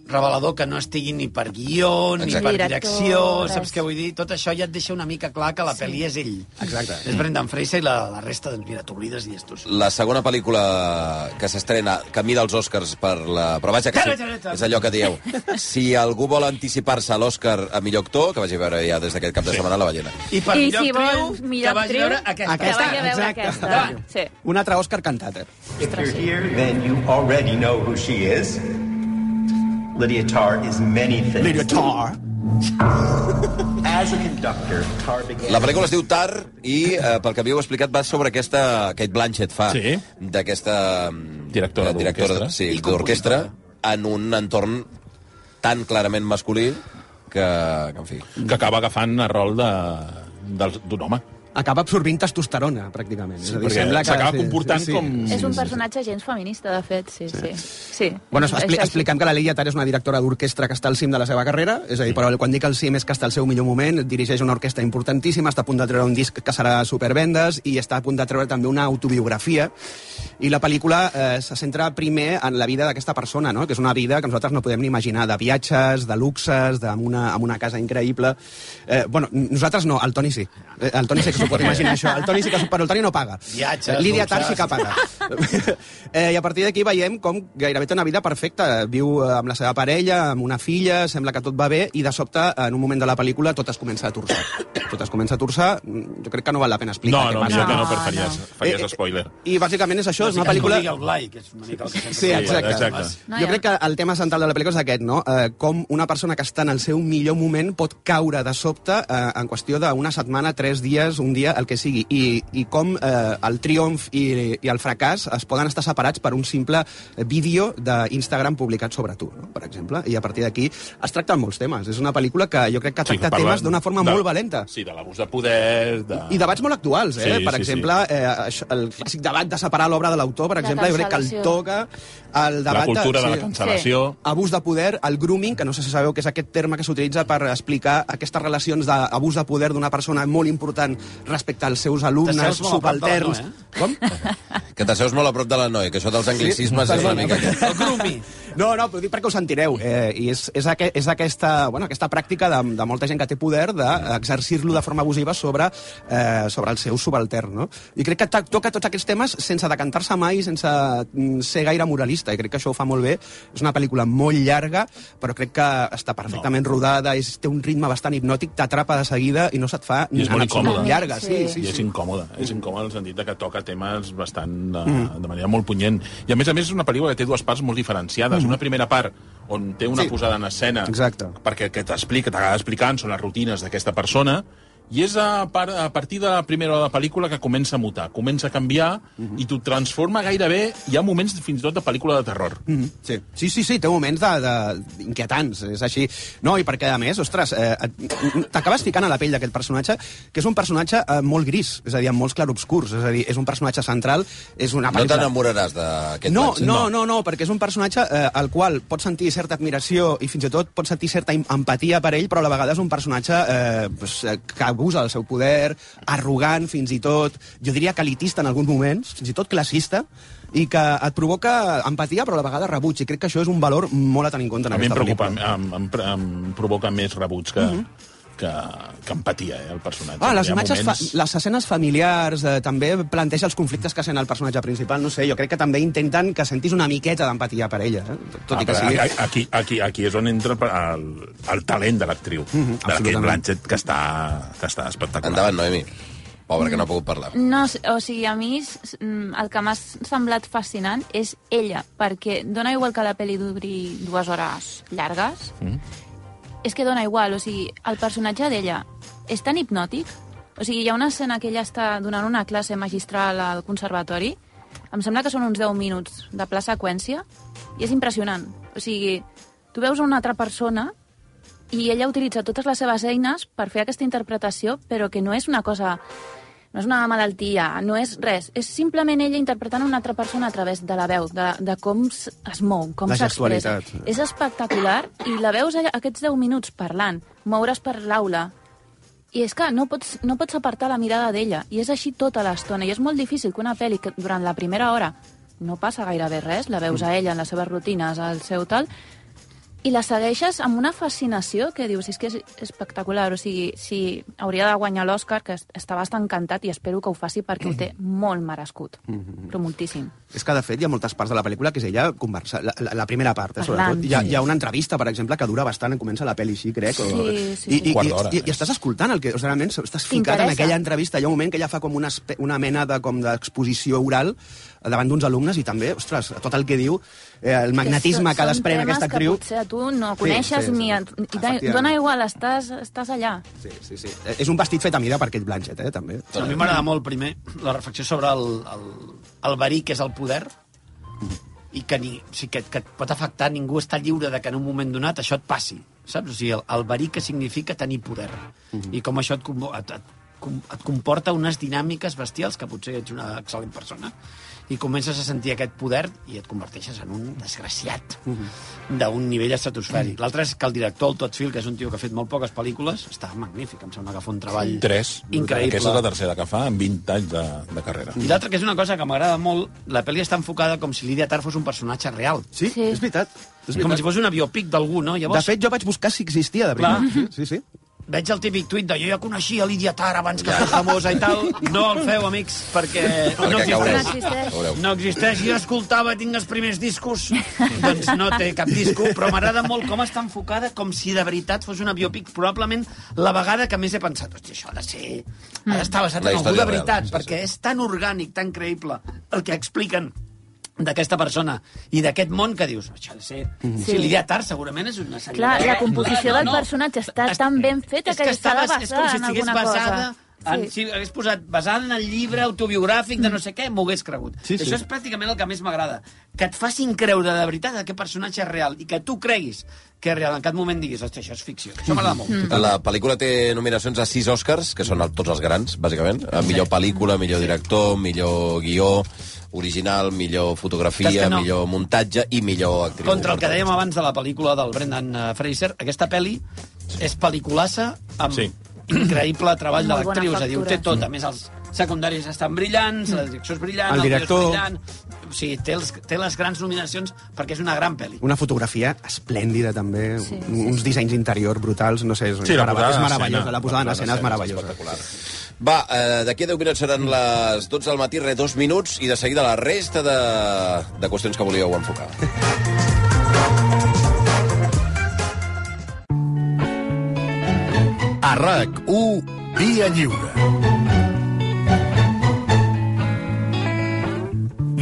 Speaker 3: revelador que no estigui ni per guió, ni
Speaker 1: Exacte.
Speaker 3: per
Speaker 7: Director,
Speaker 3: direcció,
Speaker 7: res.
Speaker 3: saps què vull dir? Tot això ja et deixa una mica clar que la sí. pel·li és ell.
Speaker 4: Exacte.
Speaker 3: És Brendan Fraser i la, la resta, doncs, mira, t'oblides i estos.
Speaker 1: La segona pel·lícula que s'estrena camí dels Oscars per la... Però vaja, que sí, és allò que dieu. Si algú vol anticipar-se a l'Oscar a millor actor, que vagi a veure ja des d'aquest cap de setmana La Ballena.
Speaker 3: I per
Speaker 7: I
Speaker 3: millor
Speaker 7: si
Speaker 3: actriu,
Speaker 7: vols millor
Speaker 3: que vagi
Speaker 7: actriu,
Speaker 3: a veure aquesta.
Speaker 7: que vagi a veure
Speaker 4: Exacte.
Speaker 7: aquesta. Sí.
Speaker 4: Un altre Òscar cantat, eh?
Speaker 9: If you're here, then you already know who she is. Lydia Tarr is many things.
Speaker 4: Lydia Tarr.
Speaker 9: As a conductor, Tarr began.
Speaker 1: La pel·lícula es diu Tar i, eh, pel que havíeu explicat, va sobre aquesta... Kate Blanchett fa
Speaker 2: Sí.
Speaker 1: d'aquesta... mm,
Speaker 2: Directora
Speaker 1: eh, directora
Speaker 2: d'orquestra.
Speaker 1: sí,
Speaker 3: I
Speaker 1: d'orquestra en un entorn tan clarament masculí que, que en fi...
Speaker 2: Que acaba agafant el rol de- del- d'un home.
Speaker 4: Acaba absorbint testosterona, pràcticament.
Speaker 2: Sí, perquè s'acaba comportant com-
Speaker 7: És un personatge gens feminista, de fet, sí, sí. sí.
Speaker 4: Bueno,
Speaker 7: És
Speaker 4: expli
Speaker 7: així.
Speaker 4: expliquem que la Leia Tar és una directora d'orquestra que està al cim de la seva carrera, és a dir, però quan dic al cim és que està al seu millor moment, dirigeix una orquestra importantíssima, està a punt de treure un disc que serà supervendes i està a punt de treure també una autobiografia i la pel·lícula eh, se centra primer en la vida d'aquesta persona, no? que és una vida que nosaltres no podem ni imaginar, de viatges, de luxes, de- amb una, amb una casa increïble... Eh, bueno, n- nosaltres no, el Toni sí. Eh, El Toni sí que s'ho pot imaginar, això. El Toni sí que s'ho... Però el Toni no paga.
Speaker 3: Viatges,
Speaker 4: Lídia
Speaker 3: luxes.
Speaker 4: Tar sí que paga. Eh, I a partir d'aquí veiem com gairebé té una vida perfecta. Viu eh, amb la seva parella, amb una filla, sembla que tot va bé, i de sobte, en un moment de la pel·lícula, tot es comença a torçar. Tot es comença a torçar, mm, jo crec que no val la pena explicar
Speaker 2: No,
Speaker 4: què
Speaker 2: no,
Speaker 4: passa. Ah. Eh,
Speaker 2: no, no, per faries, faries spoiler.
Speaker 4: I bàsicament és això, és una
Speaker 3: Bàsicament, no
Speaker 4: pel·lícula...
Speaker 3: digui el Blai, que és una mica el que sempre eh,
Speaker 4: Sí,
Speaker 3: fa.
Speaker 4: exacte.
Speaker 2: exacte.
Speaker 4: Jo crec que el tema central de la pel·lícula és aquest, no? Eh, com una persona que està en el seu millor moment pot caure de sobte eh, en qüestió d'una setmana, tres dies, un dia, el que sigui, i, i com eh, el triomf i, i el fracàs es poden estar separats per un simple vídeo d'Instagram publicat sobre tu, no? per exemple, i a partir d'aquí es tracten molts temes. És una pel·lícula que jo crec que tracta
Speaker 2: parla
Speaker 4: temes d'una forma
Speaker 2: de-
Speaker 4: molt valenta.
Speaker 2: Sí, de l'abús de poder... De...
Speaker 4: I debats molt actuals, eh?
Speaker 2: Sí,
Speaker 4: per
Speaker 2: sí,
Speaker 4: exemple, eh, això, el clàssic debat de separar l'obra de l'autor, per
Speaker 2: La
Speaker 4: exemple, jo crec que el
Speaker 2: cancel·lació.
Speaker 4: toca el debat...
Speaker 2: cultura de la cancel·lació. Sí.
Speaker 4: Abús de poder, el grooming, que no sé si sabeu que és aquest terme que s'utilitza per explicar aquestes relacions d'abús de poder d'una persona molt important respecte als seus alumnes,
Speaker 1: T'asseus molt a prop de la
Speaker 4: subalterns...
Speaker 1: Noe,
Speaker 4: Com?
Speaker 1: Que t'asseus molt a prop de la noia, que això dels anglicismes sí, és una mica...
Speaker 4: El grooming. No, no, però ho dic perquè ho sentireu. Eh, I és, és, aqu és aquesta, bueno, aquesta pràctica de, de molta gent que té poder d'exercir-lo de forma abusiva sobre, eh, sobre el seu subaltern. No? I crec que to- toca tots aquests temes sense decantar-se mai, sense mm, ser gaire moralista. I crec que això ho fa molt bé. És una pel·lícula molt llarga, però crec que està perfectament rodada, és, té un ritme bastant hipnòtic, t'atrapa de seguida i no se't fa
Speaker 2: I és
Speaker 4: en
Speaker 2: molt
Speaker 4: absolut
Speaker 2: incòmode.
Speaker 4: llarga. Sí, sí,
Speaker 2: I és
Speaker 4: sí.
Speaker 2: incòmode. És incòmode en el sentit de que toca temes bastant de,
Speaker 4: Mm.
Speaker 2: de manera molt punyent. I a més a més és una pel·lícula que té dues parts molt diferenciades.
Speaker 4: Mm.
Speaker 2: Una primera part on té una
Speaker 4: Sí.
Speaker 2: posada en escena
Speaker 4: Exacte.
Speaker 2: perquè el que t'explica, t'acaba explicant són les rutines d'aquesta persona i és a, par a partir de la primera hora de pel·lícula que comença a mutar, comença a canviar
Speaker 4: Mm-hmm.
Speaker 2: i t'ho transforma gairebé, hi ha moments fins i tot de pel·lícula de terror.
Speaker 4: Mhm, Sí. sí, sí, sí, té moments de, de, inquietants, és així. No, i perquè, a més, ostres, eh, et- t'acabes ficant a la pell d'aquest personatge, que és un personatge eh, molt gris, és a dir, amb molts clarobscurs, és a dir, és un personatge central, és una...
Speaker 1: No t'enamoraràs d'aquest
Speaker 4: No,
Speaker 1: Blanchett.
Speaker 4: no, no, no, perquè és un personatge eh, al qual pots sentir certa admiració i fins i tot pots sentir certa im- empatia per ell, però a la vegada és un personatge eh, pues, eh, que abusa del seu poder, arrogant fins i tot, jo diria que elitista en alguns moments, fins i tot classista, i que et provoca empatia però a la vegada rebuig, i crec que això és un valor molt a tenir en compte en
Speaker 2: A mi em,
Speaker 4: aquesta
Speaker 2: preocupa,
Speaker 4: pel·lícula. Mm-hmm.
Speaker 2: em, em, em provoca més rebuig que, que, que empatia, eh, el personatge.
Speaker 4: Ah, les
Speaker 2: Hi ha
Speaker 4: imatges, fa, les escenes familiars eh, també planteja els conflictes que sent el personatge principal, no sé, jo crec que també intenten que sentis una miqueta d'empatia per ella, eh? tot i que
Speaker 2: Ah, però
Speaker 4: sigui...
Speaker 2: a- a- Aquí, aquí, aquí és on entra el, el talent de l'actriu, mm
Speaker 4: Mhm,
Speaker 2: -hmm, de la Kate
Speaker 4: absolutament.
Speaker 2: Blanchett, que està, que està espectacular.
Speaker 1: Endavant, Noemi. Pobre, que no ha pogut parlar.
Speaker 7: No, s- o sigui, a mi s- mm, el que m'ha s- semblat fascinant és ella, perquè dona igual que la pel·li duri dues hores llargues,
Speaker 10: Mm.
Speaker 7: és que dona igual, o sigui, el personatge d'ella és tan hipnòtic, o sigui, hi ha una escena que ella està donant una classe magistral al conservatori, em sembla que són uns 10 minuts de pla seqüència, i és impressionant. O sigui, tu veus una altra persona i ella utilitza totes les seves eines per fer aquesta interpretació, però que no és una cosa no és una malaltia, no és res. És simplement ella interpretant una altra persona a través de la veu, de, de com s- es mou, com
Speaker 4: La
Speaker 7: s'expressa.
Speaker 4: gestualitat.
Speaker 7: És espectacular i la veus allà, aquests 10 minuts parlant, moure's per l'aula. I és que no pots, no pots apartar la mirada d'ella. I és així tota l'estona. I és molt difícil que una pel·li que durant la primera hora no passa gairebé res, la veus
Speaker 4: Mm.
Speaker 7: a ella en les seves rutines, al seu tal, i la segueixes amb una fascinació que dius, és que és espectacular, o sigui, si hauria de guanyar l'Oscar, que est- està bastant encantat i espero que ho faci perquè ho té molt merescut, però moltíssim.
Speaker 4: És que, de fet, hi ha moltes parts de la pel·lícula que és ella conversa, la, la- la primera part, eh,
Speaker 7: Parlant.
Speaker 4: sobretot. Hi ha,
Speaker 7: Sí.
Speaker 4: hi ha una entrevista, per exemple, que dura bastant, comença la pel·li així, crec. O...
Speaker 7: Sí, sí,
Speaker 4: I,
Speaker 7: sí.
Speaker 4: i,
Speaker 7: Quart
Speaker 4: i,
Speaker 2: d'hora,
Speaker 4: i, i, estàs escoltant el que... O sigui, realment, estàs ficat en
Speaker 7: T'interessa.
Speaker 4: aquella entrevista. Hi ha un moment que ella fa com una, espe- una mena de com d'exposició oral eh, davant d'uns alumnes i també, ostres, tot el que diu, eh, el magnetisme que,
Speaker 7: són
Speaker 4: desprèn
Speaker 7: temes
Speaker 4: aquesta actriu...
Speaker 7: Que potser a tu no
Speaker 4: Sí,
Speaker 7: coneixes
Speaker 4: sí, sí.
Speaker 7: ni... A, i da-
Speaker 4: Efectivament.
Speaker 7: dona igual, estàs, estàs allà.
Speaker 4: Sí, sí, sí. Eh, És un vestit fet a mida per Kate Blanchett, eh, també.
Speaker 3: A mi m'agrada molt, primer, la reflexió sobre el, el, el verí, que és el poder, i que, ni, o sigui, que, que et pot afectar, ningú està lliure de que en un moment donat això et passi, saps? O sigui, el, el verí que significa tenir poder.
Speaker 2: Mhm.
Speaker 3: I com això et, convo- et, et, com- et comporta unes dinàmiques bestials, que potser ets una excel·lent persona, i comences a sentir aquest poder i et converteixes en un desgraciat
Speaker 2: Mhm.
Speaker 3: d'un nivell estratosfèric. L'altre és que el director, el Todd Field, que és un tio que ha fet molt poques pel·lícules, està magnífic, em sembla que fa un treball
Speaker 2: Tres.
Speaker 3: increïble.
Speaker 2: Aquesta és la tercera que fa en 20 anys de, de carrera.
Speaker 3: I l'altra, que és una cosa que m'agrada molt, la pel·li està enfocada com si Lydia Tarr fos un personatge real.
Speaker 4: Sí, sí. és veritat. És
Speaker 3: Com
Speaker 4: veritat.
Speaker 3: si fos una biopic d'algú, no?
Speaker 4: De
Speaker 3: Llavors,
Speaker 4: fet, jo vaig buscar si existia, de
Speaker 3: Clar.
Speaker 4: veritat. Sí, sí.
Speaker 3: veig el típic tuit de jo ja coneixia Lydia Tarr abans que fos famosa i tal. No el feu, amics, perquè no
Speaker 1: Perquè caureu.
Speaker 3: existeix.
Speaker 1: Caureu.
Speaker 3: No existeix. Jo escoltava, tinc els primers discos. doncs no té cap disco, però m'agrada molt com està enfocada, com si de veritat fos una biopic. Probablement la vegada que més he pensat, hòstia, això ha de ser...
Speaker 7: Mm.
Speaker 3: Ha d'estar basat
Speaker 1: La
Speaker 3: en algú
Speaker 1: història
Speaker 3: de
Speaker 1: real,
Speaker 3: veritat,
Speaker 1: sí, sí.
Speaker 3: perquè és tan orgànic, tan creïble el que expliquen d'aquesta persona i d'aquest món que dius, això ha de ser... Sí. Si Lydia Tarr segurament és una senyora...
Speaker 7: Mm-hmm. Clar, la composició del personatge està tan ben feta
Speaker 3: És que,
Speaker 7: que s'ha de
Speaker 3: estava, és com
Speaker 7: basar
Speaker 3: si
Speaker 7: en
Speaker 3: estigués
Speaker 7: alguna
Speaker 3: basada...
Speaker 7: cosa.
Speaker 3: En, si hagués posat basada en el llibre autobiogràfic de no sé què, m'ho hagués cregut.
Speaker 4: Mm. Sí, sí.
Speaker 3: Això és pràcticament el que més m'agrada. Que et facin creure de veritat que aquest personatge és real i que tu creguis que és real. En cap moment diguis, hòstia, això és ficció. Això m'agrada molt.
Speaker 4: Mm.
Speaker 1: Mm-hmm. La pel·lícula té nominacions a sis Oscars, que són el, tots els grans, bàsicament. A millor pel·lícula, millor director, millor guió original, millor
Speaker 3: Saps
Speaker 1: fotografia,
Speaker 3: que no?
Speaker 1: millor muntatge i millor actriu.
Speaker 3: Contra el que dèiem abans de la pel·lícula del Brendan eh, Fraser, aquesta pel·li és pel·liculassa amb
Speaker 2: Sí.
Speaker 3: increïble treball de
Speaker 7: Molt bona
Speaker 3: l'actriu. És a dir, ho té
Speaker 7: factura.
Speaker 3: tot. A més, els secundaris estan brillants, la direcció és brillant,
Speaker 4: Mm. El
Speaker 3: guió és
Speaker 4: director.
Speaker 3: brillant... O sigui, té, els, té les grans nominacions perquè és una gran pel·li.
Speaker 4: Una fotografia esplèndida, també. Sí,
Speaker 7: Sí,
Speaker 4: sí, uns dissenys d'interior brutals, no sé, és,
Speaker 2: Sí, la
Speaker 4: merav-
Speaker 2: posada
Speaker 4: és
Speaker 2: en
Speaker 4: meravellosa.
Speaker 2: escena.
Speaker 4: La posada en escena és meravellosa.
Speaker 1: Espectacular. Va, eh, d'aquí a 10 minuts seran les 12 del matí, re, dos minuts, i de seguida la resta de, de qüestions que volíeu enfocar.
Speaker 5: A RAC1, Via Lliure.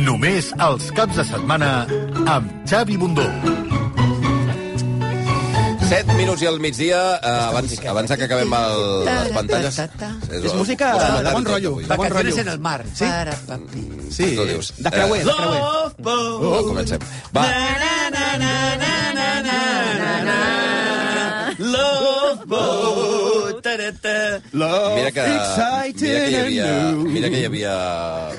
Speaker 5: Només els caps de setmana amb Xavi Bundó.
Speaker 1: 7 minuts i al migdia, eh, abans, abans que acabem el, les pantalles...
Speaker 4: És música
Speaker 1: Posem
Speaker 4: de bon
Speaker 1: la-
Speaker 4: rotllo. De bon
Speaker 3: Vacaciones en
Speaker 4: rotllo.
Speaker 3: el mar.
Speaker 4: Sí.
Speaker 3: Para, papi.
Speaker 4: Sí,
Speaker 1: Tu dius.
Speaker 4: de creuer, de creuer.
Speaker 3: Love boat.
Speaker 1: Oh, comencem. Va,
Speaker 3: Na, na, na, na, na, na, na, na. Love boat. Ta-ra-ta.
Speaker 4: Love
Speaker 1: Mira que,
Speaker 4: excited
Speaker 1: mira que hi havia,
Speaker 4: Oh, and new.
Speaker 1: mira que hi havia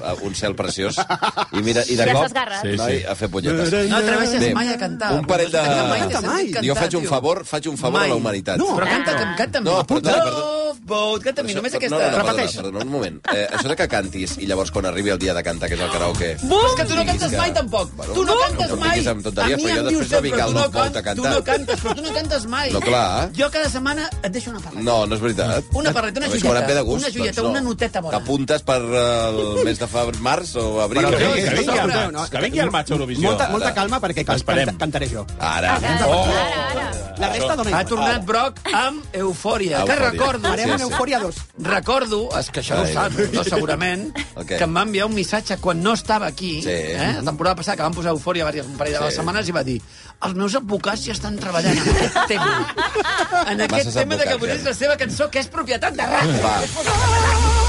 Speaker 1: eh, un cel preciós i, mira, i de
Speaker 7: Ja
Speaker 1: cop
Speaker 7: s'ha esgarrat.
Speaker 1: sí, sí. a fer punyetes.
Speaker 3: No atreveixes
Speaker 1: Bé,
Speaker 3: mai a cantar.
Speaker 1: un parell de...
Speaker 3: No, mai t'he
Speaker 4: Mai.
Speaker 3: sentit cantar,
Speaker 1: jo faig un
Speaker 3: tio.
Speaker 1: favor, faig un favor a
Speaker 3: Mai.
Speaker 1: la humanitat.
Speaker 4: No.
Speaker 3: Però canta, que- canta amb
Speaker 1: No,
Speaker 3: mi.
Speaker 1: perdona, perdona.
Speaker 3: Love boat, canta amb mi, només aquesta.
Speaker 1: No, no, no, perdona,
Speaker 4: Repeteix.
Speaker 1: perdona, un moment. Eh, això de que cantis i llavors quan arribi el dia de cantar, que és el karaoke...
Speaker 3: Bum! És que tu no cantes
Speaker 1: que-
Speaker 3: mai, tampoc.
Speaker 1: Bueno,
Speaker 3: tu no
Speaker 1: no,
Speaker 3: cantes
Speaker 1: no em
Speaker 3: mai.
Speaker 1: diguis amb tonteries,
Speaker 3: a mi
Speaker 1: però jo
Speaker 3: em
Speaker 1: després
Speaker 3: dius
Speaker 1: de
Speaker 3: sempre,
Speaker 1: vingar
Speaker 3: tu
Speaker 1: el
Speaker 3: no,
Speaker 1: Love Boat a
Speaker 3: can- tu
Speaker 1: cantar.
Speaker 3: no cantes, però tu no cantes mai. eh?
Speaker 1: No, clar.
Speaker 3: Jo cada setmana et deixo una parreta.
Speaker 1: No, no és veritat.
Speaker 3: Una barreta, una
Speaker 1: A veure,
Speaker 3: joieta,
Speaker 1: quan em ve de gust, doncs,
Speaker 3: una joieta,
Speaker 1: no.
Speaker 3: una noteta bona.
Speaker 1: T'apuntes per eh, el mes de febrer, març o abril?
Speaker 4: Però
Speaker 2: Que
Speaker 1: Però,
Speaker 4: no,
Speaker 2: vingui, que vingui,
Speaker 4: no,
Speaker 2: el
Speaker 4: no,
Speaker 2: maig,
Speaker 4: no.
Speaker 2: que vingui el maig a Eurovisió.
Speaker 4: Molta, molta
Speaker 1: Ara.
Speaker 4: calma perquè cal,
Speaker 2: Esperem.
Speaker 4: canta- cantaré jo.
Speaker 1: Ara. Oh.
Speaker 4: La resta dona
Speaker 3: Ha
Speaker 4: igual.
Speaker 3: tornat Brock amb eufòria, que
Speaker 1: Eufòria.
Speaker 3: recordo... eh?
Speaker 1: Farem
Speaker 4: Farem una eufòria dos.
Speaker 3: Recordo, és que això no ho
Speaker 1: Ai,
Speaker 3: sap,
Speaker 1: Déu meu.
Speaker 3: no, segurament,
Speaker 1: Ok.
Speaker 3: okay. que em va enviar un missatge quan no estava aquí,
Speaker 1: Sí.
Speaker 3: eh, la temporada passada, que vam posar eufòria diverses, un parell de
Speaker 1: Sí.
Speaker 3: les setmanes, i va dir els meus advocats ja estan treballant en aquest tema. En aquest
Speaker 1: Masses
Speaker 3: tema de que
Speaker 1: advocats,
Speaker 3: posés
Speaker 1: ja.
Speaker 3: la seva cançó, que és propietat de RAC.
Speaker 1: Va.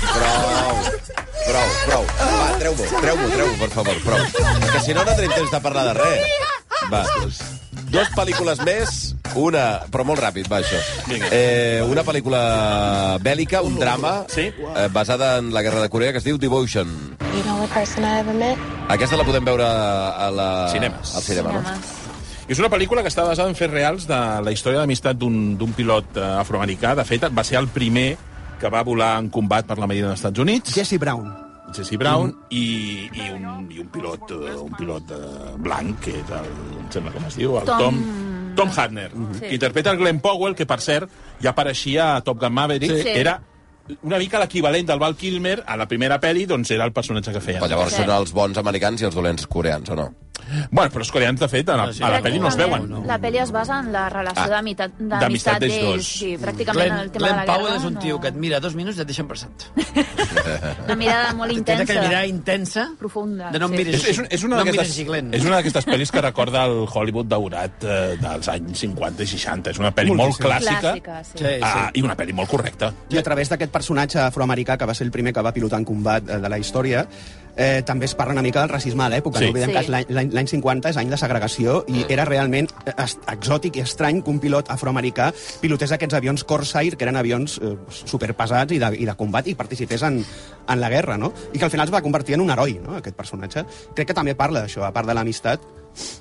Speaker 1: Prou. Prou, prou. Va, treu-m'ho, treu-m'ho, treu-m'ho, per favor, prou. Que si no, no tenim temps de parlar de res. Va, doncs, Dos pel·lícules més, una... Però molt ràpid, va, això.
Speaker 2: Vinga.
Speaker 1: Eh, una pel·lícula bèl·lica, un drama,
Speaker 2: Sí.
Speaker 1: eh, basada en la Guerra de Corea, que es diu Devotion.
Speaker 10: You know what person I ever met?
Speaker 1: Aquesta la podem veure a la...
Speaker 2: Cinemes.
Speaker 1: Al cinema, no?
Speaker 7: Cinemes.
Speaker 2: És una pel·lícula que està basada en fets reals de la història d'amistat d'un d'un pilot eh, afroamericà. De fet, va ser el primer que va volar en combat per la Marina dels Estats Units.
Speaker 4: Jesse Brown.
Speaker 2: Jesse Brown i, i, un, i un pilot, eh, un pilot eh, blanc, que és el, em sembla com es diu, el Tom,
Speaker 7: Tom- Mm-hmm.
Speaker 2: Tom Hartner,
Speaker 7: Sí.
Speaker 2: que interpreta el Glenn Powell, que, per cert, ja apareixia a Top Gun Maverick.
Speaker 7: Sí.
Speaker 2: Era una mica l'equivalent del Val Kilmer a la primera pel·li, doncs era el personatge que feia.
Speaker 1: Però llavors són els bons americans i els dolents coreans, o no?
Speaker 2: Bueno, però els coreans, de fet, a la, a la pel·li no es veuen.
Speaker 7: Pràcticament, La pel·li es basa en la relació
Speaker 1: Ah,
Speaker 7: d'amitat
Speaker 2: d'amistat
Speaker 7: d'amistat
Speaker 2: d'ells
Speaker 7: d'ells.
Speaker 2: dos.
Speaker 7: Sí, pràcticament
Speaker 3: Glenn,
Speaker 7: el tema
Speaker 3: Glenn
Speaker 7: de la guerra.
Speaker 3: Powell és un tio
Speaker 7: no.
Speaker 3: que et mira dos minuts i et deixa passat.
Speaker 7: Una mirada molt
Speaker 3: Tens
Speaker 7: intensa.
Speaker 3: aquella mirada intensa
Speaker 7: Profunda,
Speaker 3: de no em
Speaker 7: sí.
Speaker 3: miris
Speaker 2: És, és, un- és una
Speaker 3: no em miris
Speaker 2: d'aquestes
Speaker 3: així, Glenn.
Speaker 2: és una d'aquestes pel·lis que recorda el Hollywood daurat eh, dels anys 50 i 60. És una pel·li molt clàssica,
Speaker 7: Clàssica, sí.
Speaker 3: Sí, sí.
Speaker 2: ah, i una pel·li molt correcta.
Speaker 4: I a través d'aquest personatge afroamericà, que va ser el primer que va pilotar en combat eh, de la història, eh, també es parla una mica del racisme a l'època.
Speaker 11: Sí.
Speaker 4: No oblidem
Speaker 11: Sí.
Speaker 4: que és l'any- l'any l'any 50 és any de segregació i era realment eh, es- exòtic i estrany que un pilot afroamericà pilotés aquests avions Corsair, que eren avions eh, superpesats i de, i de combat, i participés en, en la guerra, no? I que al final es va convertir en un heroi, no?, aquest personatge. Crec que també parla d'això, a part de l'amistat.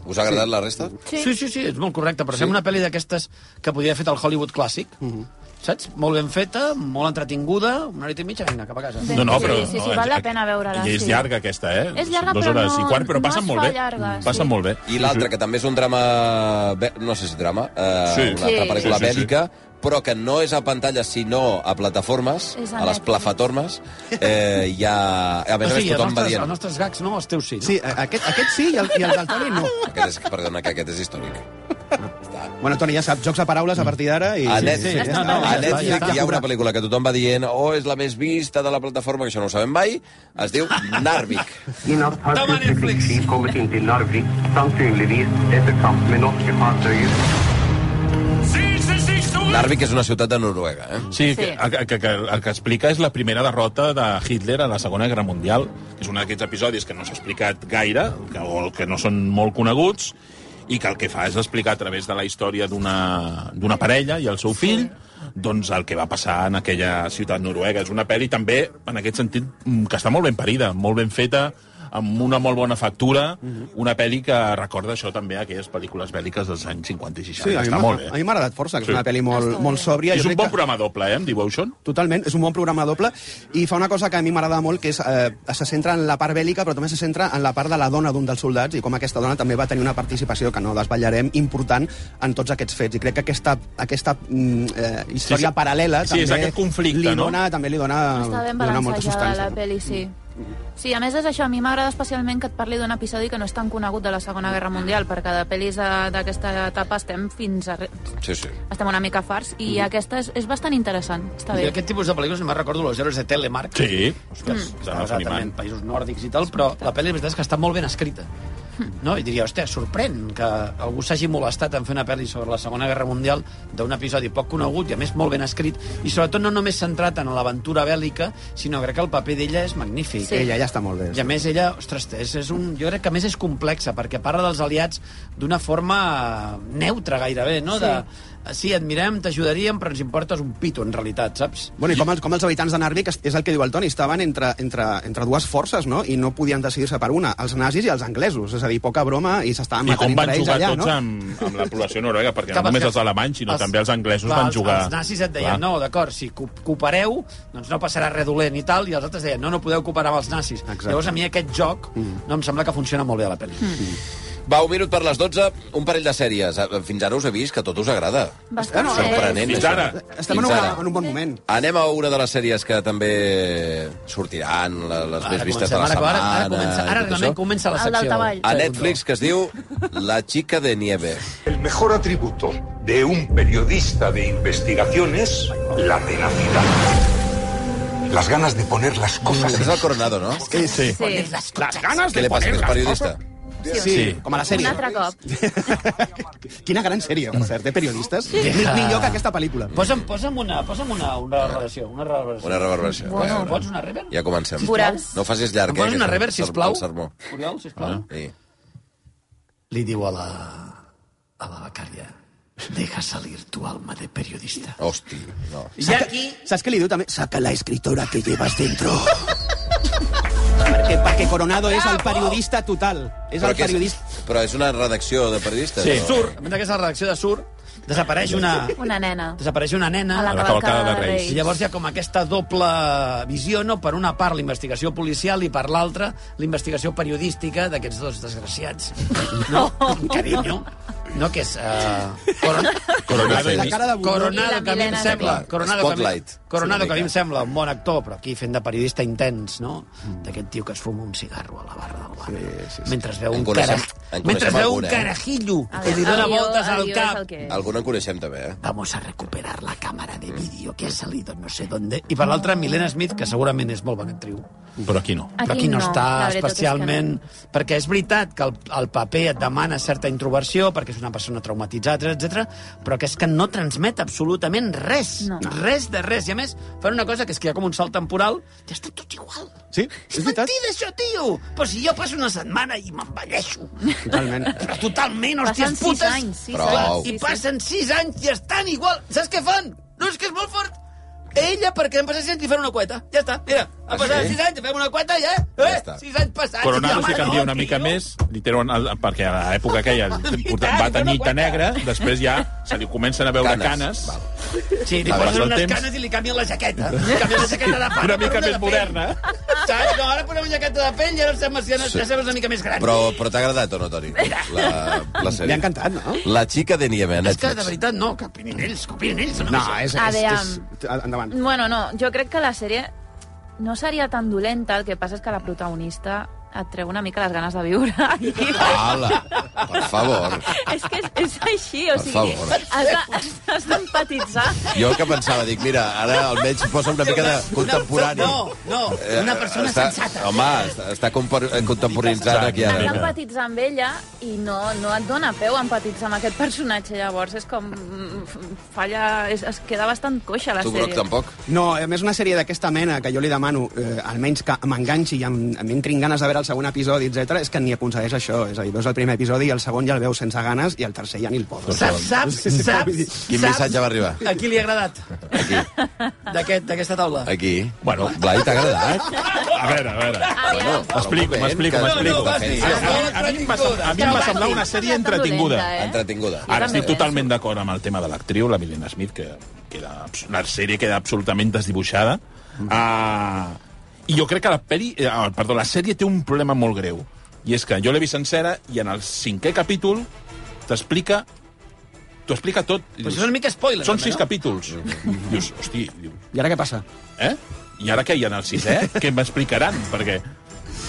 Speaker 1: Us ha agradat la resta?
Speaker 3: Sí. sí, sí, sí, és molt correcte, però sí. sembla una pel·li d'aquestes que podria haver fet el Hollywood clàssic, mm
Speaker 1: Mhm.
Speaker 3: -hmm. saps? Molt ben feta, molt entretinguda, una horeta i mitja, vinga, cap a casa.
Speaker 7: Ben- No, no, sí, però- sí, sí, no, val la pena veure-la,
Speaker 2: I és
Speaker 7: sí.
Speaker 2: llarga aquesta, eh?
Speaker 7: És llarga,
Speaker 2: Dues
Speaker 7: però
Speaker 2: hores
Speaker 7: no-
Speaker 2: i quart, però
Speaker 7: no
Speaker 2: passen
Speaker 7: es
Speaker 2: molt
Speaker 7: fa
Speaker 2: bé.
Speaker 7: llarga,
Speaker 2: passen
Speaker 7: sí.
Speaker 2: molt bé.
Speaker 1: I l'altra, que també és un drama... bè- No sé si drama, eh,
Speaker 2: Sí.
Speaker 1: una
Speaker 2: Sí.
Speaker 1: altra pel·lícula
Speaker 2: Sí, sí, sí.
Speaker 1: bèl·lica, però que no és a pantalla, sinó a plataformes,
Speaker 3: És a
Speaker 1: a les
Speaker 3: Netflix.
Speaker 1: plataformes. Eh, hi ha... A més a
Speaker 3: o
Speaker 1: més,
Speaker 3: sigui, els
Speaker 1: tothom va
Speaker 3: nostres, els
Speaker 1: dient...
Speaker 3: nostres gags, no? Els teus sí, no?
Speaker 4: Sí, a- aquest, aquest sí i el, i el del Toni no.
Speaker 1: Aquest és, perdona, que aquest és històric.
Speaker 4: Bueno, Toni, ja sap, jocs de paraules a partir d'ara i...
Speaker 1: A Netflix,
Speaker 4: ja
Speaker 1: no,
Speaker 4: està.
Speaker 1: no, a Netflix hi ha una pel·lícula que tothom va dient oh, és la més vista de la plataforma, que això no ho sabem mai, es diu Narvik.
Speaker 12: Inom fartygspubliken kommer in till Narvik, sannsynligvis efter kamp med norska fartyg.
Speaker 1: Narvik és una ciutat de Noruega, eh?
Speaker 2: Sí, que, que, que, que el que explica és la primera derrota de Hitler a la Segona Guerra Mundial. És un d'aquests episodis que no s'ha explicat gaire, que, o que no són molt coneguts, i que el que fa és explicar a través de la història d'una d'una parella i el seu fill, doncs el que va passar en aquella ciutat noruega. És una pel·li també, en aquest sentit, mm, que està molt ben parida, molt ben feta, amb una molt bona factura,
Speaker 4: Mhm.
Speaker 2: una pel·li que recorda això també a aquelles pel·lícules bèl·liques dels anys 50 i 60.
Speaker 4: Sí, a mi
Speaker 2: està
Speaker 4: m'ha-
Speaker 2: molt bé.
Speaker 4: a mi m'ha agradat força, que
Speaker 2: Sí.
Speaker 4: és una pel·li molt, molt sòbria.
Speaker 2: És
Speaker 4: Jo
Speaker 2: un
Speaker 4: crec
Speaker 2: bon
Speaker 4: que-
Speaker 2: programa doble, eh, amb Devotion.
Speaker 4: Totalment, és un bon programa doble i fa una cosa que a mi m'agrada molt, que és eh, se centra en la part bèl·lica, però també se centra en la part de la dona d'un dels soldats i com aquesta dona també va tenir una participació que no desvetllarem important en tots aquests fets. I crec que aquesta, aquesta mm, eh, història
Speaker 2: Sí, sí.
Speaker 4: paral·lela
Speaker 2: Sí,
Speaker 4: també,
Speaker 2: és aquest conflicte,
Speaker 4: li
Speaker 2: no?
Speaker 4: dona, també li dona,
Speaker 3: Ah,
Speaker 7: Està ben
Speaker 4: dona molta
Speaker 7: balançejada la
Speaker 4: substància.
Speaker 7: pel·li, sí. Sí, a més és això, a mi m'agrada especialment que et parli d'un episodi que no és tan conegut de la Segona Guerra Mundial, perquè de pel·lis eh, d'aquesta etapa estem fins a... re-
Speaker 1: Sí, sí.
Speaker 7: estem una mica farts, i
Speaker 3: Mm.
Speaker 7: aquesta és, és bastant interessant, està
Speaker 3: I
Speaker 7: bé.
Speaker 3: aquest tipus de pel·lícules, me'n recordo los héroes de Telemark.
Speaker 2: Sí.
Speaker 3: Ostres,
Speaker 2: Mm.
Speaker 3: mm. basada també en països nòrdics i tal, però la pel·li, la veritat, és que està molt ben escrita. No? I diria, hòstia, sorprèn que algú s'hagi molestat en fer una pel·li sobre la Segona Guerra Mundial d'un episodi poc conegut i, a més, molt ben escrit. I, sobretot, no només centrat en l'aventura bèl·lica, sinó crec que el paper d'ella és magnífic.
Speaker 4: Sí. Ella ja està molt bé.
Speaker 3: I a més ella, ostres, és, és un, jo crec que a més és complexa, perquè parla dels aliats d'una forma eh, neutra gairebé, no?
Speaker 4: Sí.
Speaker 3: Sí. De, eh, sí, et mirem, t'ajudaríem, però ens importes un pito, en realitat, saps?
Speaker 4: Bueno, i com els, com els habitants de Narvik, es- és el que diu el Toni, estaven entre, entre, entre dues forces, no?, i no podien decidir-se per una, els nazis i els anglesos, és a dir, poca broma, i s'estaven
Speaker 2: I
Speaker 4: matant
Speaker 2: com van
Speaker 4: entre ells
Speaker 2: jugar
Speaker 4: allà,
Speaker 2: tots
Speaker 4: no?
Speaker 2: amb, amb la població noruega, perquè
Speaker 3: Cap
Speaker 2: no només
Speaker 3: escap-
Speaker 2: els alemanys, sinó
Speaker 3: els-
Speaker 2: també els anglesos
Speaker 3: Clar,
Speaker 2: van
Speaker 3: els-
Speaker 2: jugar.
Speaker 3: Els nazis et deien, no, d'acord, si co coopereu, doncs no passarà res dolent i tal, i els altres deien, no, no podeu cooperar amb els nazis. Exacte. Llavors, a mi aquest joc
Speaker 1: Mm.
Speaker 3: no em sembla que funciona molt bé a la pel·li. Mm.
Speaker 1: Va, un minut per les 12, un parell de sèries. Eh, Fins ara us he vist que tot us agrada.
Speaker 7: Bastant
Speaker 4: no,
Speaker 1: Sorprenent,
Speaker 4: Fins
Speaker 1: això.
Speaker 4: ara. Estem en,
Speaker 1: Fins
Speaker 4: una,
Speaker 1: ara.
Speaker 4: en un bon moment.
Speaker 1: Anem a una de les sèries que també sortiran, la- les més vistes de tota la
Speaker 3: comencem,
Speaker 1: setmana.
Speaker 3: ara, ara, ara,
Speaker 1: i
Speaker 3: comença, ara
Speaker 1: tot
Speaker 3: realment
Speaker 1: això.
Speaker 3: comença la secció.
Speaker 1: A Netflix, que es diu La chica de nieve.
Speaker 13: El mejor atributo de un periodista de investigación es la tenacidad. Las ganas de poner las cosas
Speaker 1: Es
Speaker 13: en
Speaker 1: el
Speaker 13: su-
Speaker 1: Coronado, ¿no?
Speaker 13: Sí, sí.
Speaker 1: Las
Speaker 4: ganes
Speaker 1: Què li passa, que és periodista?
Speaker 4: Sí,
Speaker 1: Sí.
Speaker 4: com a la
Speaker 7: Un
Speaker 4: sèrie.
Speaker 7: altre cop.
Speaker 4: Quina gran sèrie, per cert, de periodistes.
Speaker 3: Sí.
Speaker 4: Mi- Millor que aquesta pel·lícula.
Speaker 3: Posa'm, posa'm, una, posa'm una, una reverberació. Una reverberació.
Speaker 1: Una reverberació.
Speaker 3: Bueno,
Speaker 1: Bueno,
Speaker 3: pots una reverb?
Speaker 1: Ja comencem.
Speaker 3: Veuràs.
Speaker 1: No facis llarg,
Speaker 3: Em
Speaker 1: eh?
Speaker 3: poses una
Speaker 1: que
Speaker 3: reverb,
Speaker 1: és el-
Speaker 3: sisplau? Ah.
Speaker 1: El sermó.
Speaker 3: Oriol, sisplau.
Speaker 1: Sí.
Speaker 3: Li diu a la... a la becària. Deja salir tu alma de periodista.
Speaker 1: Hosti, no.
Speaker 3: I aquí...
Speaker 4: Saps què li diu també? Saca la escritora que llevas dentro. perquè, perquè Coronado és el periodista total. És
Speaker 1: Però
Speaker 4: el
Speaker 1: que
Speaker 4: periodista...
Speaker 1: És, però és una redacció de periodistes?
Speaker 3: Sí.
Speaker 1: o-
Speaker 3: Sur, mentre que és la redacció de Sur, desapareix una...
Speaker 7: Una nena.
Speaker 3: Desapareix una nena...
Speaker 7: A la A la cavalcada cavalcada de de Reis. Reis.
Speaker 3: I llavors hi ha com aquesta doble visió, no? Per una part, la investigació policial, i per l'altra, la investigació periodística d'aquests dos desgraciats. No? Amb carinyo. No, que és... Uh, Coron...
Speaker 1: Coronado i La cara de Bunyol.
Speaker 3: Coronado,
Speaker 1: I la
Speaker 3: que a mi em
Speaker 1: Milena
Speaker 3: sembla...
Speaker 1: també.
Speaker 3: Coronado, que a mi-
Speaker 1: Spotlight. eh.
Speaker 3: Coronado, que a mi em sembla un bon actor, però aquí fent de periodista intens, no?
Speaker 1: Mm.
Speaker 3: D'aquest tio que es fuma un cigarro a la barra del bar. Sí, sí, sí. Mentre es veu
Speaker 1: En
Speaker 3: un,
Speaker 1: coneixem-
Speaker 3: cara...
Speaker 1: en coneixem
Speaker 3: Mentre es veu
Speaker 1: alguna,
Speaker 3: un
Speaker 1: eh?
Speaker 3: carajillo que li dóna voltes al cap.
Speaker 1: Alguna en coneixem, també, eh?
Speaker 3: Vamos a recuperar la cámara de vídeo que ha salido no sé dónde. I per l'altra, Milena Smith, que segurament és molt bona actriu.
Speaker 2: Però aquí no.
Speaker 3: Però aquí no, està especialment... És perquè és veritat que el, el paper et demana certa introversió, perquè és és una persona traumatitzada, etc però que és que no transmet absolutament res. No. Res de res. I, a més, fan una cosa que és que hi ha com un salt temporal. Ja està tot igual.
Speaker 4: Sí,
Speaker 3: és mentida, això, tio! Però si jo passo una setmana i m'envelleixo.
Speaker 4: Totalment.
Speaker 3: Però totalment,
Speaker 7: Passen
Speaker 3: hòsties
Speaker 7: sis
Speaker 3: putes.
Speaker 7: anys, sis Prou. anys, sí,
Speaker 3: I
Speaker 7: sí.
Speaker 3: passen sis anys i estan igual. Saps què fan? No, és que és molt fort. Ella, perquè han passat sis anys, li fan una cueta. Ja està, mira,
Speaker 1: Ah,
Speaker 3: han passat
Speaker 1: sí?
Speaker 3: sis anys, li fem una cueta, ja, eh?
Speaker 1: està.
Speaker 3: sis anys passats.
Speaker 2: Coronado
Speaker 3: ja,
Speaker 2: si canvia una
Speaker 3: no,
Speaker 2: mica
Speaker 3: oh, tio.
Speaker 2: més, li treuen el, perquè a l'època aquella el porta- va tenir ta negra, després ja se li comencen a veure
Speaker 1: Canes.
Speaker 2: canes.
Speaker 3: Sí, li
Speaker 2: Amb el
Speaker 3: posen unes
Speaker 2: temps.
Speaker 3: canes i li canvien la jaqueta. Li canvien la jaqueta de pana.
Speaker 2: Una
Speaker 3: per
Speaker 2: mica més
Speaker 3: de pell.
Speaker 2: moderna.
Speaker 3: Saps? No, ara posem una jaqueta de pell i ara em sembla, si ara,
Speaker 1: Sí.
Speaker 3: ja sembles una mica més gran.
Speaker 1: Però, però t'ha agradat o no, Toni? La, la
Speaker 4: Li
Speaker 1: sèrie.
Speaker 4: ha encantat, no?
Speaker 1: La xica de nieve, a
Speaker 3: És que, de
Speaker 1: Netflix.
Speaker 3: veritat, no, que opinin ells, que opinin ells.
Speaker 4: No,
Speaker 3: sé.
Speaker 4: és...
Speaker 7: A
Speaker 4: és,
Speaker 7: veure,
Speaker 4: és, endavant.
Speaker 7: Bueno, no, jo crec que la sèrie no seria tan dolenta, el que passa és que la protagonista et treu una mica les ganes de viure.
Speaker 1: Ala, per favor.
Speaker 7: és que és, és així, o
Speaker 1: Per
Speaker 7: sigui,
Speaker 1: favor.
Speaker 7: has de- has d'empatitzar.
Speaker 1: Jo el que pensava, dic, mira, ara almenys posa una mica de contemporani.
Speaker 3: No, no, una persona
Speaker 1: està,
Speaker 3: sensata.
Speaker 1: Home, està, està compor- eh, contemporanitzant aquí
Speaker 7: Has
Speaker 1: ara.
Speaker 7: d'empatitzar amb ella i no, no et dona peu a empatitzar amb aquest personatge, llavors és com... mm, f- falla... És, es queda bastant coixa la
Speaker 1: Tu,
Speaker 7: sèrie.
Speaker 1: Broc, tampoc?
Speaker 4: No, a més una sèrie d'aquesta mena que jo li demano, eh, almenys que m'enganxi i em- em entrin ganes de veure el segon episodi, etc és que ni aconsegueix això. És a dir, veus el primer episodi i el segon ja el veus sense ganes i el tercer ja ni el poses.
Speaker 3: Saps, saps,
Speaker 4: Sí, sí, vull dir,
Speaker 3: saps,
Speaker 1: Quin
Speaker 3: saps
Speaker 1: missatge va arribar?
Speaker 3: a qui li ha agradat d'aquest- d'aquesta taula?
Speaker 1: Aquí. Bueno, Blai, t'ha agradat?
Speaker 2: A veure, a veure.
Speaker 7: Ah,
Speaker 1: Bueno,
Speaker 2: M'explico,
Speaker 1: un moment,
Speaker 2: m'explico,
Speaker 1: que-
Speaker 2: m'explico.
Speaker 1: que defensa.
Speaker 2: A mi em va semblar- a mi em va semblar una sèrie entretinguda.
Speaker 7: Eh?
Speaker 1: Entretinguda.
Speaker 2: Ara estic totalment d'acord amb el tema de l'actriu, la Milena Smith, que queda, abs- la sèrie queda absolutament desdibuixada.
Speaker 3: Mm.
Speaker 2: Ah, I jo crec que la, peli, eh, ah, perdó, la sèrie té un problema molt greu. I és que jo l'he vist sencera i en el cinquè capítol t'explica t'ho explica tot. I
Speaker 3: Però
Speaker 2: dius,
Speaker 3: això és una mica spoiler,
Speaker 2: Són
Speaker 3: també,
Speaker 2: sis
Speaker 3: no?
Speaker 2: capítols. Dius, hosti, dius,
Speaker 4: I ara què passa?
Speaker 2: eh? I ara què hi ha en el sisè? Què m'explicaran? Perquè,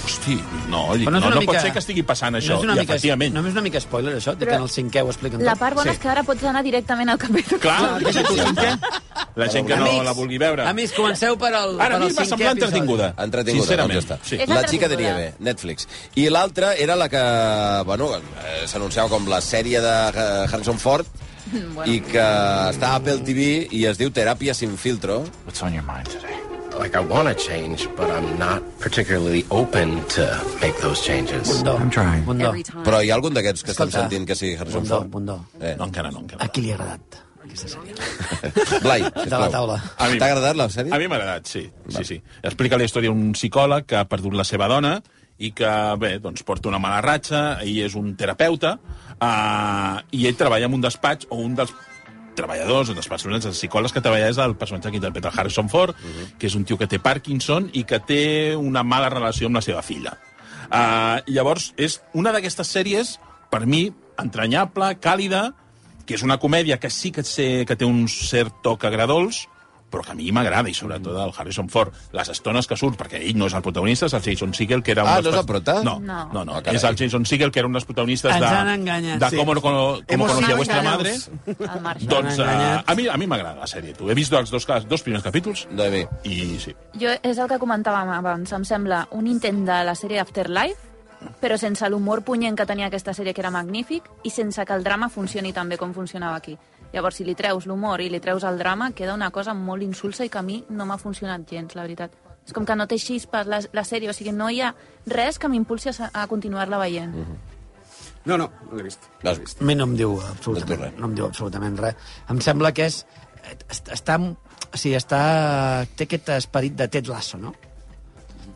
Speaker 2: hosti, no, dic,
Speaker 3: Però
Speaker 2: no,
Speaker 3: no és
Speaker 2: no,
Speaker 3: una
Speaker 2: no
Speaker 3: mica-
Speaker 2: pot ser que estigui passant això.
Speaker 3: és una
Speaker 2: No I
Speaker 3: mica-
Speaker 2: efectivament.
Speaker 3: no és una mica spoiler, això? De que en el cinquè ho expliquen
Speaker 7: La
Speaker 3: tot?
Speaker 7: part bona
Speaker 3: Sí.
Speaker 7: és que ara pots anar directament al capítol.
Speaker 2: Clar, deixa tu cinquè. eh? La gent que no
Speaker 3: Amics,
Speaker 2: la vulgui veure.
Speaker 3: Amics, comenceu per al, per
Speaker 2: Ara a mi
Speaker 3: al
Speaker 2: em va
Speaker 3: cinquè
Speaker 2: semblar
Speaker 3: episodi.
Speaker 2: entretinguda.
Speaker 1: Entretinguda,
Speaker 2: Sincerament.
Speaker 1: doncs ja està.
Speaker 2: Sí.
Speaker 7: És
Speaker 1: La xica de
Speaker 7: entretinguda.
Speaker 1: nieve, Netflix. I l'altra era la que, bueno, eh, s'anunciava com la sèrie de eh, Harrison Ford
Speaker 7: Bueno.
Speaker 1: i que està a Apple TV i es diu Teràpia sin filtro.
Speaker 11: What's on your mind today? Like, I want to change, but I'm not particularly open to make those changes.
Speaker 3: Bundó. I'm trying. Bundó.
Speaker 7: Ah.
Speaker 1: Però hi ha algun d'aquests que estem
Speaker 3: Escolta.
Speaker 1: sentint que sigui Harrison
Speaker 3: Bundó,
Speaker 1: Ford?
Speaker 3: bundó.
Speaker 1: Eh.
Speaker 2: No, encara no, encara
Speaker 3: A qui li ha agradat aquesta sèrie?
Speaker 1: Blai,
Speaker 3: De la taula.
Speaker 2: A mi-
Speaker 1: T'ha agradat la
Speaker 2: A
Speaker 1: sèrie?
Speaker 2: mi m'ha agradat, sí. sí, sí. Explica la història d'un psicòleg que ha perdut la seva dona i que, bé, doncs porta una mala ratxa, ell és un terapeuta, eh, i ell treballa en un despatx o un dels treballadors o dels personatges, dels psicòlegs que treballa és el personatge que interpreta el Harrison Ford,
Speaker 1: Mhm.
Speaker 2: que és un tio que té Parkinson i que té una mala relació amb la seva filla. Uh, llavors, és una d'aquestes sèries, per mi, entranyable, càlida, que és una comèdia que sí que sé que té un cert toc agradols, però que a mi m'agrada, i sobretot el Harrison Ford. Les estones que surt, perquè ell no és el protagonista, és el Jason Segel, que era un
Speaker 1: Ah,
Speaker 2: dels
Speaker 1: no és el
Speaker 2: pers-
Speaker 1: prota?
Speaker 2: No, no,
Speaker 7: No.
Speaker 2: no,
Speaker 1: Ah,
Speaker 2: no.
Speaker 1: carai.
Speaker 2: és el Jason Segel, que era un dels protagonistes
Speaker 3: Ens
Speaker 2: de...
Speaker 3: han enganyat,
Speaker 2: De
Speaker 3: sí.
Speaker 2: cómo, cómo, cómo
Speaker 4: Hemos
Speaker 2: conocí a
Speaker 4: sido
Speaker 2: vuestra madre.
Speaker 4: engañados.
Speaker 7: Al marge.
Speaker 2: Doncs
Speaker 3: Ens han
Speaker 2: uh,
Speaker 3: enganyat.
Speaker 2: a mi, a mi m'agrada la sèrie, tu. He vist els dos, cas- dos primers capítols
Speaker 1: No, a mi.
Speaker 2: i sí.
Speaker 7: Jo, és el que comentàvem abans, em sembla un intent de la sèrie Afterlife, però sense l'humor punyent que tenia aquesta sèrie, que era magnífic, i sense que el drama funcioni tan bé com funcionava aquí. Llavors, si li treus l'humor i li treus el drama, queda una cosa molt insulsa i que a mi no m'ha funcionat gens, la veritat. És com que no té xispes la, la sèrie, o sigui, no hi ha res que m'impulsi a, se- a continuar-la veient. Mm -hmm.
Speaker 4: No, no, no l'he vist.
Speaker 1: L'has vist?
Speaker 3: A mi no em diu
Speaker 1: No et
Speaker 3: absolutament,
Speaker 2: Doncs
Speaker 1: diu res.
Speaker 3: no, em diu absolutament res. Em sembla que és... est- Està, o sigui, està, té aquest esperit de Ted Lasso, no?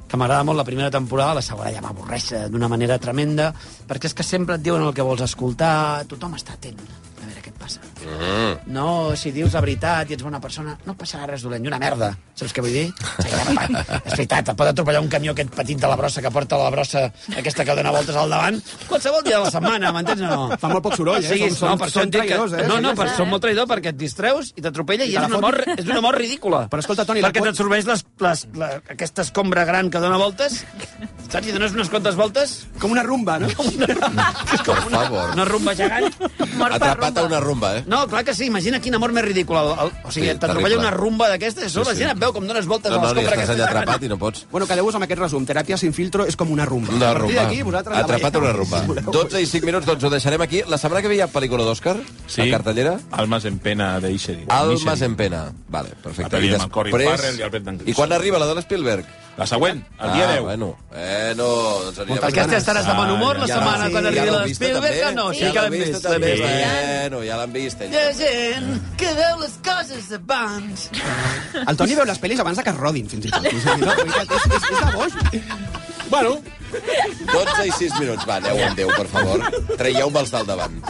Speaker 3: que m'agrada molt la primera temporada, la segona ja m'avorreix d'una manera tremenda, perquè és que sempre et diuen el que vols escoltar, tothom està atent a veure què et passa. Mm. No, si dius la veritat i ets bona persona, no et passarà res dolent, ni una merda. Saps què vull dir? Sí, és veritat, et pot atropellar un camió aquest petit de la brossa que porta la brossa aquesta que dona voltes al davant qualsevol dia de la setmana, m'entens o no?
Speaker 4: Fa molt poc soroll, eh?
Speaker 3: O sigui,
Speaker 4: Som- som-
Speaker 3: no, per
Speaker 4: som
Speaker 3: això et dic
Speaker 4: traïdors, eh?
Speaker 3: No,
Speaker 4: Sí,
Speaker 3: no,
Speaker 4: sí,
Speaker 3: per
Speaker 4: sí.
Speaker 3: som molt traïdor, perquè et distreus i t'atropella i
Speaker 4: te
Speaker 3: és
Speaker 4: la
Speaker 3: un,
Speaker 4: fot.
Speaker 3: amor, és un amor ridícula.
Speaker 4: Però escolta, Toni, la
Speaker 3: Perquè
Speaker 4: pot-
Speaker 3: t'absorbeix les, les, la, aquesta escombra gran que dona voltes Saps? I dones unes quantes voltes...
Speaker 4: Com una rumba, no?
Speaker 3: Com una,
Speaker 1: Per favor.
Speaker 3: una rumba gegant. Mort per
Speaker 1: Atrapat a una rumba, eh?
Speaker 3: No, clar que sí, imagina quin amor més ridícul. El, el, o sigui,
Speaker 1: Sí,
Speaker 3: sí, t'atropella
Speaker 1: terrible.
Speaker 3: una rumba d'aquestes,
Speaker 1: Sí,
Speaker 3: sí, la
Speaker 1: sí.
Speaker 3: gent et veu com dones voltes
Speaker 1: No,
Speaker 3: a
Speaker 1: no,
Speaker 3: les
Speaker 1: li
Speaker 3: compres
Speaker 1: estàs allà
Speaker 3: aquestes.
Speaker 1: atrapat i no pots.
Speaker 4: Bueno, quedeu-vos amb aquest resum. Teràpia sin filtro és com una rumba.
Speaker 1: Una
Speaker 4: a partir
Speaker 1: rumba.
Speaker 4: d'aquí, vosaltres... la
Speaker 1: Atrapat a una
Speaker 4: veieu.
Speaker 1: rumba.
Speaker 4: Si voleu.
Speaker 1: 12 i 5 minuts, doncs ho deixarem aquí. La setmana que ve hi ha pel·lícula d'Òscar, a cartellera.
Speaker 2: Almas en pena de Ixeri.
Speaker 1: Almas en pena. Vale, perfecte.
Speaker 2: La pel·li
Speaker 1: I
Speaker 2: amb el Corey
Speaker 1: després-
Speaker 2: Farrell i el Brendan Gleeson.
Speaker 1: I quan arriba la de l'Spielberg?
Speaker 2: La següent, el dia
Speaker 1: Ah,
Speaker 2: 10.
Speaker 1: bueno. Eh, no, doncs anirem Ah,
Speaker 3: Moltes Aquesta estaràs de bon humor la
Speaker 1: Ja
Speaker 3: setmana
Speaker 1: l'heu-
Speaker 3: quan
Speaker 1: ja
Speaker 3: arribi
Speaker 1: l'heu
Speaker 3: la
Speaker 1: vista,
Speaker 3: Spielberg,
Speaker 1: també?
Speaker 3: que no? Sí,
Speaker 1: Ja
Speaker 3: que
Speaker 1: l'hem
Speaker 3: l'hem
Speaker 1: vist,
Speaker 3: vist,
Speaker 1: també.
Speaker 3: l'hem vist.
Speaker 1: Bueno, ja l'han vist.
Speaker 3: Hi ha gent que veu les coses abans.
Speaker 4: El Toni veu les pel·lis abans de que es rodin, fins i tot. O sigui, no, veritat, és, és, és de boix.
Speaker 2: Bueno,
Speaker 1: 12 i 6 minuts. Va, aneu amb Déu, per favor. Traieu-me'ls del davant.